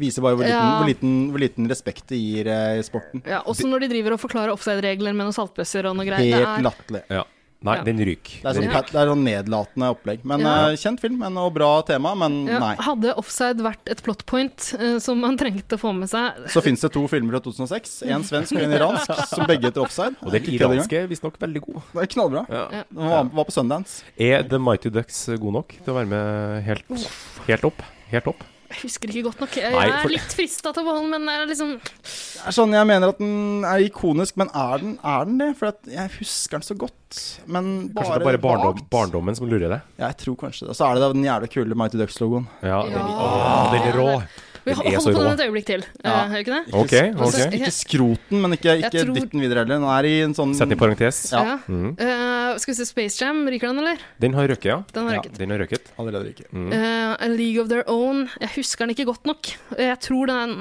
viser bare hvor liten, Ja. hvor liten, hvor liten respekt det gir eh, i sporten. ja, Også når de driver og forklarer offside-regler med noen saltbøsser og noe greier. Helt Det er, latterlig. Ja. Nei, Ja. den ryker. Det er sånn, Den ryker. pat- det er sånn nedlatende opplegg. Men Ja. eh, Kjent film men, og bra tema, men ja, nei. hadde offside vært et plot point eh, som man trengte å få med seg Så fins det to filmer fra 2006. En svensk og en iransk, som begge heter Offside. Og den Ikke kødd engang. iranske er visstnok veldig god. Det er knallbra. Ja. Den var, var på Sundance. Er The Mighty Ducks god nok til å være med helt, helt opp? Helt opp? Jeg husker ikke godt nok. Jeg, Nei, jeg for- er litt frista til å beholde, men jeg er liksom Det er sånn jeg mener at den er ikonisk, men er den, er den det? For at jeg husker den så godt. Men Kanskje bare, det er bare barndom, vagt. barndommen som lurer deg? Ja, jeg tror kanskje det. Og så er det da den jævla kule Mighty Ducks-logoen. Ja, Den, Ja. Åh, den er rå! Vi Den er holder så på rå. den et øyeblikk til, eh, Ja. er det ikke det? Ok, altså, ok. jeg- Ikke skroten, men ikke, ikke Jeg tror- dytten videre heller. Den er i en sånn Sett den i parentes. Ja. Ja. Mm. Eh, skal vi se Space Jam, ryker den, eller? Den har røket, ja. Den har Ja, røket. Den har røket. Allerede ikke. Mm. Eh, A League of Their Own. Jeg husker den ikke godt nok. Jeg tror den,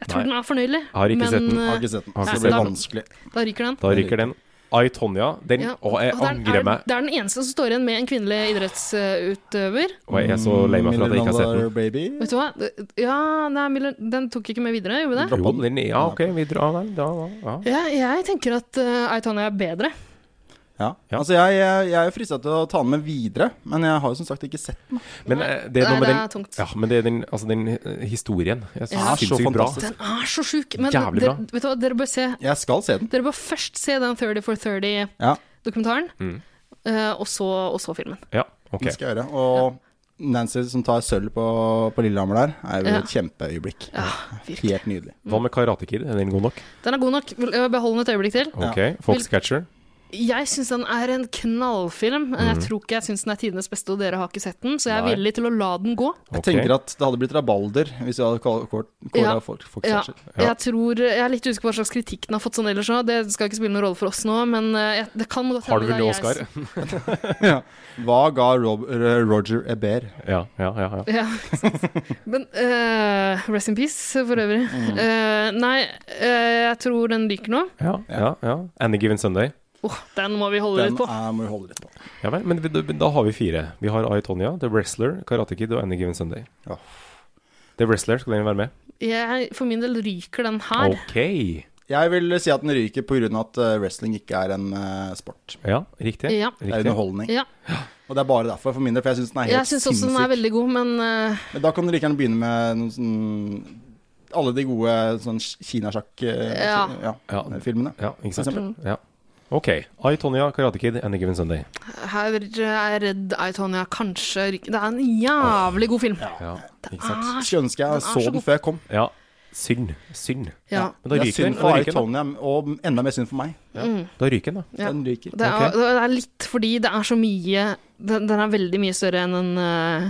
jeg tror Nei. den er fornøyelig. Har ikke men, sett den. Har ikke sett den. Har Så ikke det blir sett den. vanskelig. eh, Da ryker den. Da ryker den. I, Tonja. Den Ja. Å, jeg Og det er- er angrer det- meg. Det er den eneste som står igjen med en kvinnelig idrettsutøver. Og jeg er så lei meg for at jeg ikke har sett den. Mm, Million Dollar Baby. Vet du hva? Det- Ja, nei, Miller- den tok ikke med videre, gjorde det? Jo, den er, ja, ok, vi drar den. Da, da, ja. Ja, jeg tenker at uh, Aitania er bedre. Ja. Ja. Altså, jeg, jeg, jeg er jo frista til å ta den med videre, men jeg har jo som sagt ikke sett den. Men eh, det er Nei, noe med det den er tungt. Ja, men det er den, altså, den eh, historien. Jeg synes Ja. den er sinnssykt bra. fantastisk. Den er så sjuk. Men Jævlig dere, bra. vet du hva? dere bør se Jeg skal se den. Dere bør først se den 30 for 30-dokumentaren, Ja, Mm. eh, og, så, og så filmen. Ja, ok. det skal jeg gjøre. Og Nancy som tar sølv på, på Lillehammer der, er jo Ja. et kjempeøyeblikk. virkelig. Helt nydelig. Hva med Karate Kid? Er den god nok? Den er god nok. Vil- eh, Behold den et øyeblikk til. Ok. Foxcatcher. Jeg syns den er en knallfilm. men Jeg tror ikke jeg syns den er tidenes beste, og dere har ikke sett den, så jeg er Mm. Nei. villig til å la den gå. Jeg Ok. tenker at det hadde blitt rabalder hvis vi hadde kåra Ja. folk, folk Ja, Thatcher. jeg tror Jeg er litt usikker på hva slags kritikk den har fått sånn ellers òg, det skal ikke spille noen rolle for oss nå, men eh, jeg, det kan godt Har du hende vel det er Oscar? jeg Hva ga Rob, Roger Ebert? Ja, ja, ja. ja. Ja, ikke sant. Men eh, rest in peace, for øvrig. Eh, nei, eh, jeg tror den ryker nå. ja, ja, ja. Any Given Sunday. Åh, den må vi holde Den litt på. er, må vi holde litt på. Ja vel, men da, da har vi fire. Vi har I, Tonya, The Wrestler, Karate Kid og Any Given Sunday. Ja. The Wrestler, skal den være med? Jeg, for min del ryker den her. Ok. Jeg vil si at den ryker pga. at eh, wrestling ikke er en eh, sport. Ja, riktig. Ja. Det er riktig. underholdning. Ja, Og det er bare derfor, for min del. For jeg syns den er jeg helt syns også den er sinnssyk. veldig god, men eh, Men da kan du like gjerne begynne med noen sånn alle de gode sånn Ja. kinasjakk-filmene. Ja. eh, Ja. filmene. Ja, ikke sant. Ja. Ok. I, Tonya, Karate Kid, Any Given Sunday. Her er jeg redd Aitonia kanskje ryker Det er en jævlig god film. Ja, ikke sant. Ah, Skulle ønske Den er jeg så så den god. før jeg kom. Ja. Synd. Synd. ja. Men da Det er ryker den. synd Da for ryker den, Itonia, og enda mer synd for meg. da. da. ryker den, da. Ja. Den ryker. Det er, Ok. det er litt fordi det er så mye Den, den er veldig mye større enn en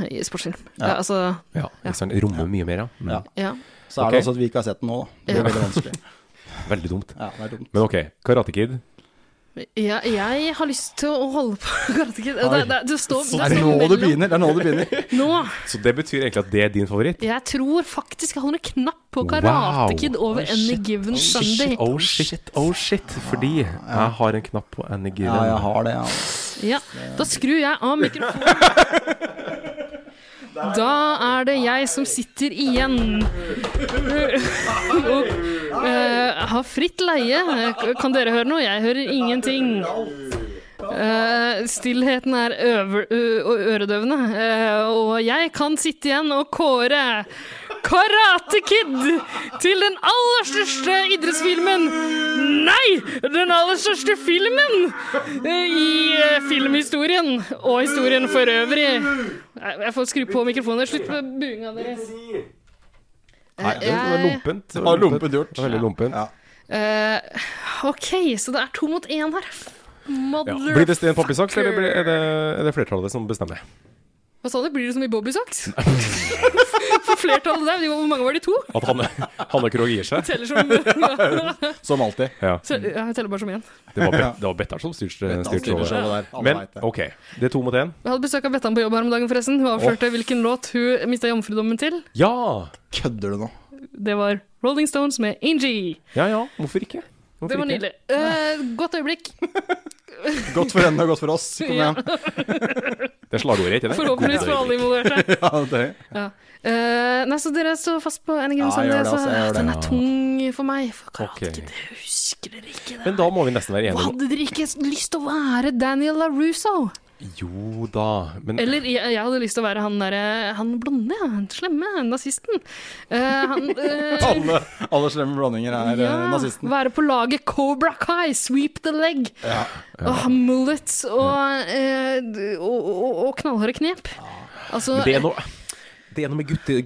eh, sportsfilm. Ja. altså, Ja, ikke sant. Rommer mye mer, ja. Mm. Ja. ja. Så er Ok. det også at vi ikke har sett den nå, da. Det Ja. blir veldig vanskelig. Veldig dumt. Ja, det er dumt. Men ok, Karate Kid. ja. Jeg har lyst til å holde på Karate Kid. Det, det, det står, det er det står nå det mellom- begynner? Det er nå det begynner. Nå! Så det betyr egentlig at det er din favoritt? Jeg tror faktisk jeg holder en knapp på Wow. Karate Kid over Any Given Sunday. oh shit, oh shit. Fordi jeg har en knapp på Any Given. Ja, jeg har det, ja. Ja, da skrur jeg av mikrofonen. Da er det jeg som sitter igjen. Og Eh, har fritt leie. Eh, Kan dere høre noe? Jeg hører ingenting. Eh, stillheten er øver, ø- og øredøvende, Eh, og jeg kan sitte igjen og kåre Karate Kid til den aller største idrettsfilmen Nei! Den aller største filmen eh, i eh, filmhistorien og historien for øvrig. Jeg jeg får skru på mikrofonen. Slutt med buinga deres. Eh, Nei, det var Jeg- lumpent. Det Har var lumpet gjort. Det var Veldig lumpent. Ja. Eh, OK, så det er to mot én her. Ja. Mother Blir det sten, papir, saks, eller blir- er det, er det flertallet som bestemmer? Hva sa du? Blir det som i Bobbysocks? For flertallet der, hvor mange var de to? At Hanne, Hanne Krogh gir seg? Teller som ja, Som alltid. Ja. tell- ja, Jeg teller bare som én. Det var, Bet- det var Bettar som styrte styrt Styrer showet. showet der. Alle Men vet det. OK, det er to mot én. Jeg hadde besøk av Bettan på jobb her om dagen, forresten. Hun avslørte hvilken låt hun mista jomfrudommen til. Ja! Kødder du nå? Det var Rolling Stones med Angie. Ja ja, hvorfor ikke? Hvorfor Det var ikke? nydelig. Eh, godt øyeblikk. Godt for henne og godt for oss. Kom Ja. igjen. Det er slagordet, ikke det? Forhåpentligvis for alle involverte. Ja, det. Ja. Eh, nei, så dere står fast på Any Given Ja, jeg Sunday, gjør det, så altså, jeg gjør det. den er tung for meg. For karate, Ok. Kid, jeg husker dere ikke det? Men da må vi nesten være enige. Hadde dere ikke lyst til å være Daniel LaRusso? Jo da, men Eller jeg, jeg hadde lyst til å være han derre Han blonde, ja, han slemme, han nazisten. Eh, han eh, Alle, alle slemme blandinger er ja, eh, nazisten. Være på laget Cobra Kai, sweep the leg. Åh, mullets og, eh, d- og, og, og knallharde knep. Altså, det er noe Det er noe med gutte,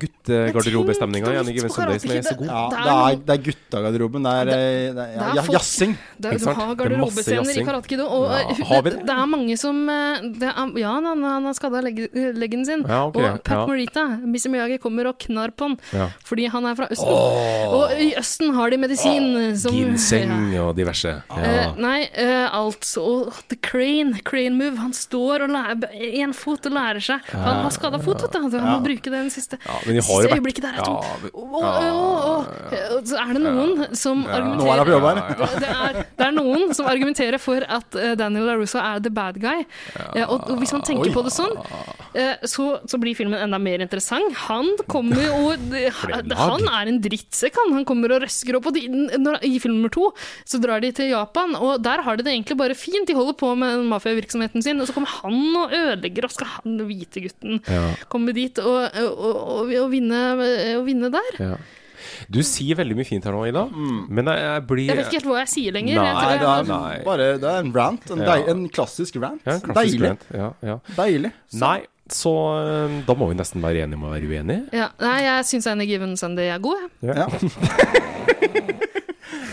guttegarderobestemninga Jeg i tenkte Given litt på Sunday som er Karate så Kid. god. Ja, Det er det er, noe- det er guttegarderoben. Det er, eh, det er, ja, Det er ja, folk- jazzing. det, ikke du sant? Det er har masse garderobescener i jazzing. Karate Kid. Og, Ja, eh, har vi det? det? er mange som eh, det er, Ja, han, han har skada legg, leggen sin. Ja, ok, og Pat ja. Morita, Missy Miyagi, kommer og knar på han Ja. fordi han er fra Østen. Og i Østen har de medisin som Ginseng og diverse. Eh, Ja. nei, eh, alt og The Crane, Crane Move. Han står og lærer én fot og lærer seg. For Han har skada fot, vet du. så Han må bruke den siste, men de har jo siste vært- øyeblikket der. Ja, Ja, men- Eh, Så er det noen som Nå er argumenterer jeg på jobb her. det, det, er, det er noen som argumenterer for at eh, Daniel LaRusso er the bad guy. Eh, og, og hvis man tenker på det sånn, eh, så, så blir filmen enda mer interessant. Han kommer jo og de- Han er en drittsekk, han. Han kommer og røsker opp. Og de, når, I film nummer to så drar de til Japan, og der har de det egentlig bare fint. De holder på med den mafiavirksomheten sin, og så kommer han og ødelegger, og skal han hvite gutten komme dit og, og, og, og, vinne, eh, og vinne der? Ja. Du sier veldig mye fint her nå, Ida, Mm. men jeg, jeg blir Jeg vet ikke helt hva jeg sier lenger. Nei, jeg Nei, tror det jeg, er Nei. bare det er en rant. En, deil, Ja. en klassisk rant. ja, en klassisk Deilig. rant. Ja, ja. Deilig. Nei, så eh, da må vi nesten være enige om å være uenige. ja, nei, jeg syns Any Given Sunday er god, jeg. Ja.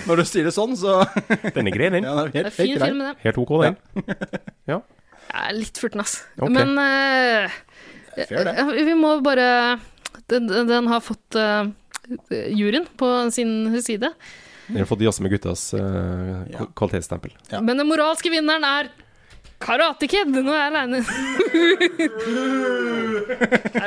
Når du sier det sånn, så Den er grei, den. ja, det er helt, Det er helt fin film, det. greit. Helt OK, den. Jeg er litt furten, ass. Ok. Men eh, Fair, det. ja, vi må bare Den, den- den har fått eh, juryen på sin side. Den har fått jazze med guttas eh, Ja. kvalitetsstempel. Ja. Men den moralske vinneren er Karate Kid! Nå er jeg aleine.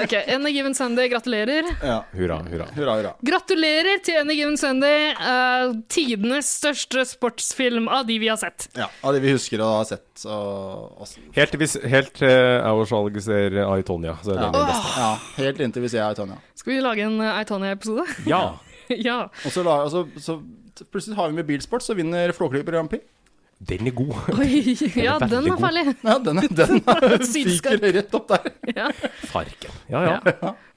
ok, Any Given Sunday, gratulerer. Ja. Hurra, hurra. Hurra, hurra. Gratulerer til Any Given Sunday, eh, tidenes største sportsfilm av de vi har sett. Ja, Av det vi husker og har sett. Og, og, Helt til vi s- helt uh, til jeg og Skjalg ser Ai Tonja, så er det ja. den beste. ja, helt inntil vi ser Tonja. Skal vi lage en eh, Aitonia-episode? Ja. ja. Og så, la- og så, så plutselig har vi med bilsport, så vinner Flåklypa Grand Prix. Den er god. Oi, ja, veldig den er god. farlig. Ja, den, er- den er- Sylskarp. fyker rett opp der. Ja. Farken. Ja, ja.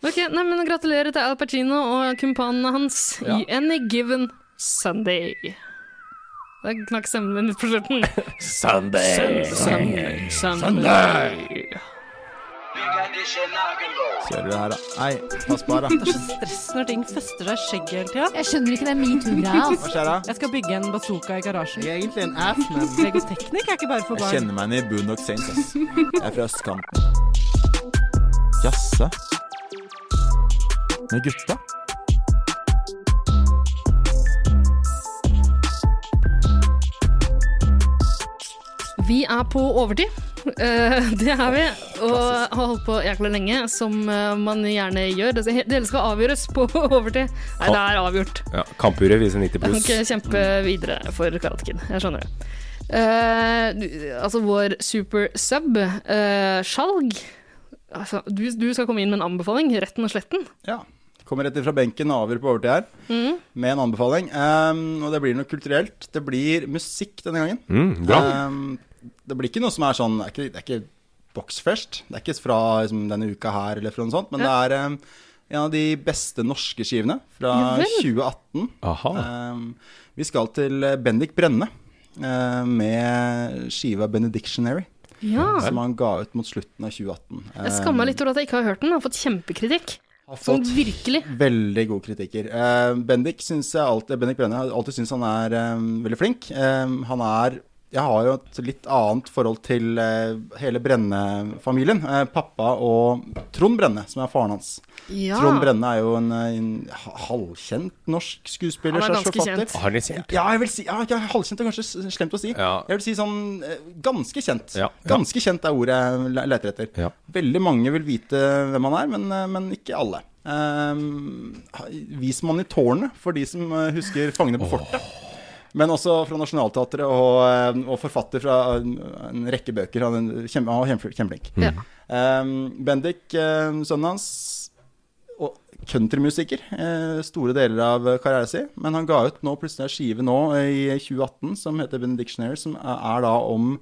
Ok, nei, men Gratulerer til Al Pacino og kumpanene hans i Any Given Sunday. Da knakk stemmen min litt på slutten. Sunday. Sunday. Sunday. Ser du det her, da? Nei, pass på her, da. stress når ting fester seg i skjegget hele tida. Jeg skjønner ikke den metoo-greia. Altså. Hva skjer da? Jeg skal bygge en bazooka i garasjen. Jeg er egentlig en ass, men Legoteknikk er ikke bare for Jeg barn. kjenner meg igjen i Boondock Saints, ass. Jeg er fra østkanten. Jasse. Med gutta. Vi er på overtid. Eh, det er vi, og har holdt på jækla lenge, som eh, man gjerne gjør. Det det hele skal avgjøres på overtid. Nei, det er avgjort. ja Kampuret viser 90 Jeg kan pluss. ikke kjempe videre for Karate Kid. Jeg skjønner det. Eh, du- altså vår super sub, eh, Skjalg altså, du, du skal komme inn med en anbefaling, retten og sletten. Ja. Kommer rett fra benken og avgjør på overtid her Mm. med en anbefaling. Ehm, og det blir noe kulturelt. Det blir musikk denne gangen. Mm, bra. Ehm, det blir ikke noe som er sånn Det er ikke, det er ikke boksfest. Det er ikke fra liksom, denne uka her eller fra noe sånt, men det er ehm, en av de beste norske skivene fra Ja vel. 2018. Aha. Ehm, vi skal til eh, Bendik Brenne eh, med skiva 'Benedictionary', Ja. som han ga ut mot slutten av 2018. Jeg skammer meg litt over at jeg ikke har hørt den. Jeg har fått kjempekritikk. Har Sånn fått virkelig. Veldig gode kritikker. Eh, Bendik, synes jeg alltid, Bendik Brenne har alltid syntes han er eh, veldig flink. Eh, han er Jeg har jo et litt annet forhold til eh, hele Brenne-familien. Eh, pappa og Trond Brenne, som er faren hans. Ja. Trond Brenne er jo en, eh, en ha- halvkjent norsk skuespiller. Han er slash ganske forfatter. kjent. Har de sett? Ja, jeg vil si, ja, ja, halvkjent er kanskje s- slemt å si. Ja. Jeg vil si sånn eh, ganske kjent. Ja, ja. Ganske kjent er ordet jeg le- leter etter. Ja. Veldig mange vil vite hvem han er, men, eh, men ikke alle. Um, vis man i tårnet, for de som eh, husker 'Fangene på fortet'. Men også fra Nationaltheatret og, eh, og forfatter fra en en rekke bøker. Han er en kjempe- han var kjempe- kjempeflink. Ja. Um, Bendik, eh, sønnen hans, og countrymusiker eh, store deler av karrieren sin. Men han ga ut nå plutselig en skive nå eh, i 2018 som heter Benedictionary, som er- er da om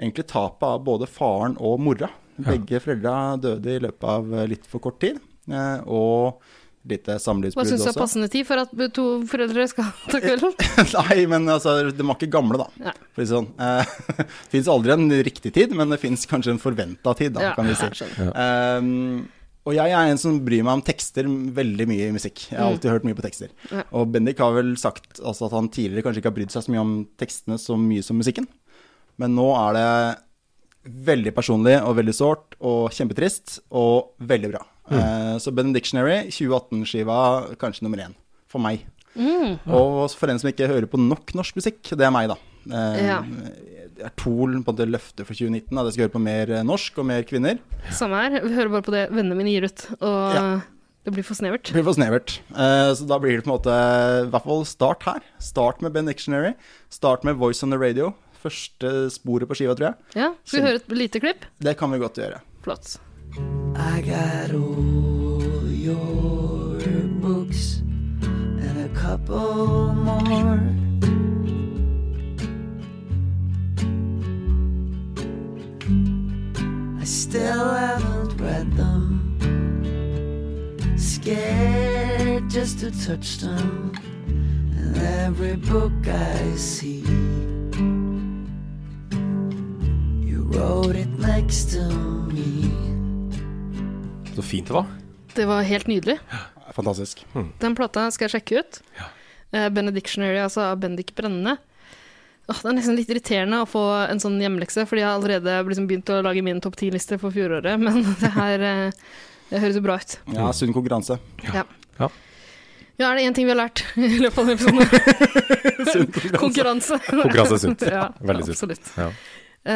egentlig tapet av både faren og mora. Begge foreldra døde i løpet av eh, litt for kort tid. eh, Og lite Hva samlivsbrudd syns du også. er passende tid for at to foreldre skal ta kvelden? Nei, men altså, de var ikke gamle, da. Nei. For å si det sånn. Eh, fins aldri en riktig tid, men det fins kanskje en forventa tid, da, Ja, kan vi jeg si. skjønner. Um, og jeg er en som bryr meg om tekster veldig mye i musikk. Jeg har alltid hørt mye på tekster. Mm. Ja. Og Bendik har vel sagt altså, at han tidligere kanskje ikke har brydd seg så mye om tekstene så mye som musikken. Men nå er det veldig personlig og veldig sårt og kjempetrist og veldig bra. Eh, så Benedictionary, 2018-skiva, kanskje nummer én for meg. Mm. Og for en som ikke hører på nok norsk musikk, det er meg, da. Eh, Ja. Det er Tool på det løftet for 2019, at jeg skal høre på mer eh, norsk og mer kvinner. Samme her. Vi hører bare på det vennene mine gir ut, og Ja. det blir for snevert. Det blir for snevert. Eh, så da blir det på en måte I hvert fall start her. Start med Benedictionary. Start med Voice on the Radio. Første sporet på skiva, tror jeg. Ja, Skal vi høre et lite klipp? Det kan vi godt gjøre. Flott. I got all your books and a couple more. I still haven't read them. Scared just to touch them. And every book I see, you wrote it next to me. Så fint det var. Det var helt nydelig. Fantastisk. Hmm. Den plata skal jeg sjekke ut. Eh, Benedictionary, altså av Bendik Brenne. Åh, det er nesten litt irriterende å få en sånn hjemmelekse, fordi jeg har allerede liksom begynt å lage min topp ti-liste for fjoråret, men det her eh, det høres jo bra ut. Ja, sunn konkurranse. Ja. Ja. Ja, er det én ting vi har lært i løpet av denne episoden? Konkurranse. Konkurranse er sunt. ja, Veldig sunt. Absolutt. Ja.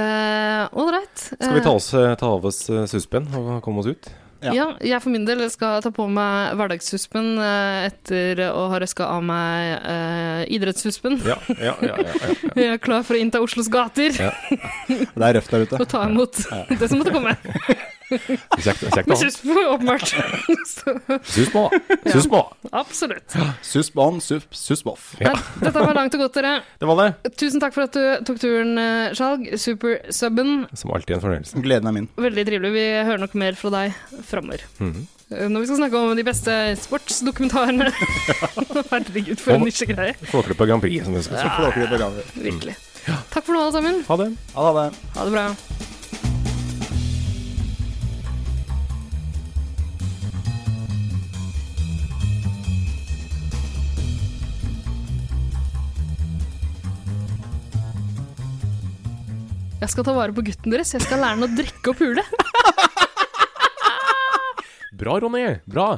Eh, All right. Skal vi ta, Eh, oss, eh, ta av oss eh, suspenn og komme oss ut? Ja. Ja. jeg for min del skal ta på meg hverdagssuspen eh, etter å ha røska av meg eh, idrettssuspen. Ja, ja, ja. ja, ja, ja. Jeg er klar for å innta Oslos gater Det er røft der ute. og ta imot det som måtte komme. Kjekt, kjekt å Med ha. susp, åpenbart. Så, Sus på! Sus på! absolutt. Susp on, sup, susp off. Nei, Dette var langt og godt, dere. Det var det. Tusen takk for at du tok turen, eh, Skjalg. Super-subben. Som alltid en fornøyelse. Gleden er min. Veldig trivelig. Vi hører nok mer fra deg framover. Eh, Når vi skal snakke om de beste sportsdokumentarene. Herregud, for en nisjegreie. Flåklypa Grand Prix, som vi skal si. Flåklype gaver. Virkelig. Takk for nå, alle sammen. Ha det. Ha det. Ha det bra. Jeg skal ta vare på gutten deres. Jeg skal lære han å drikke og pule. Bra, Ronny. Bra.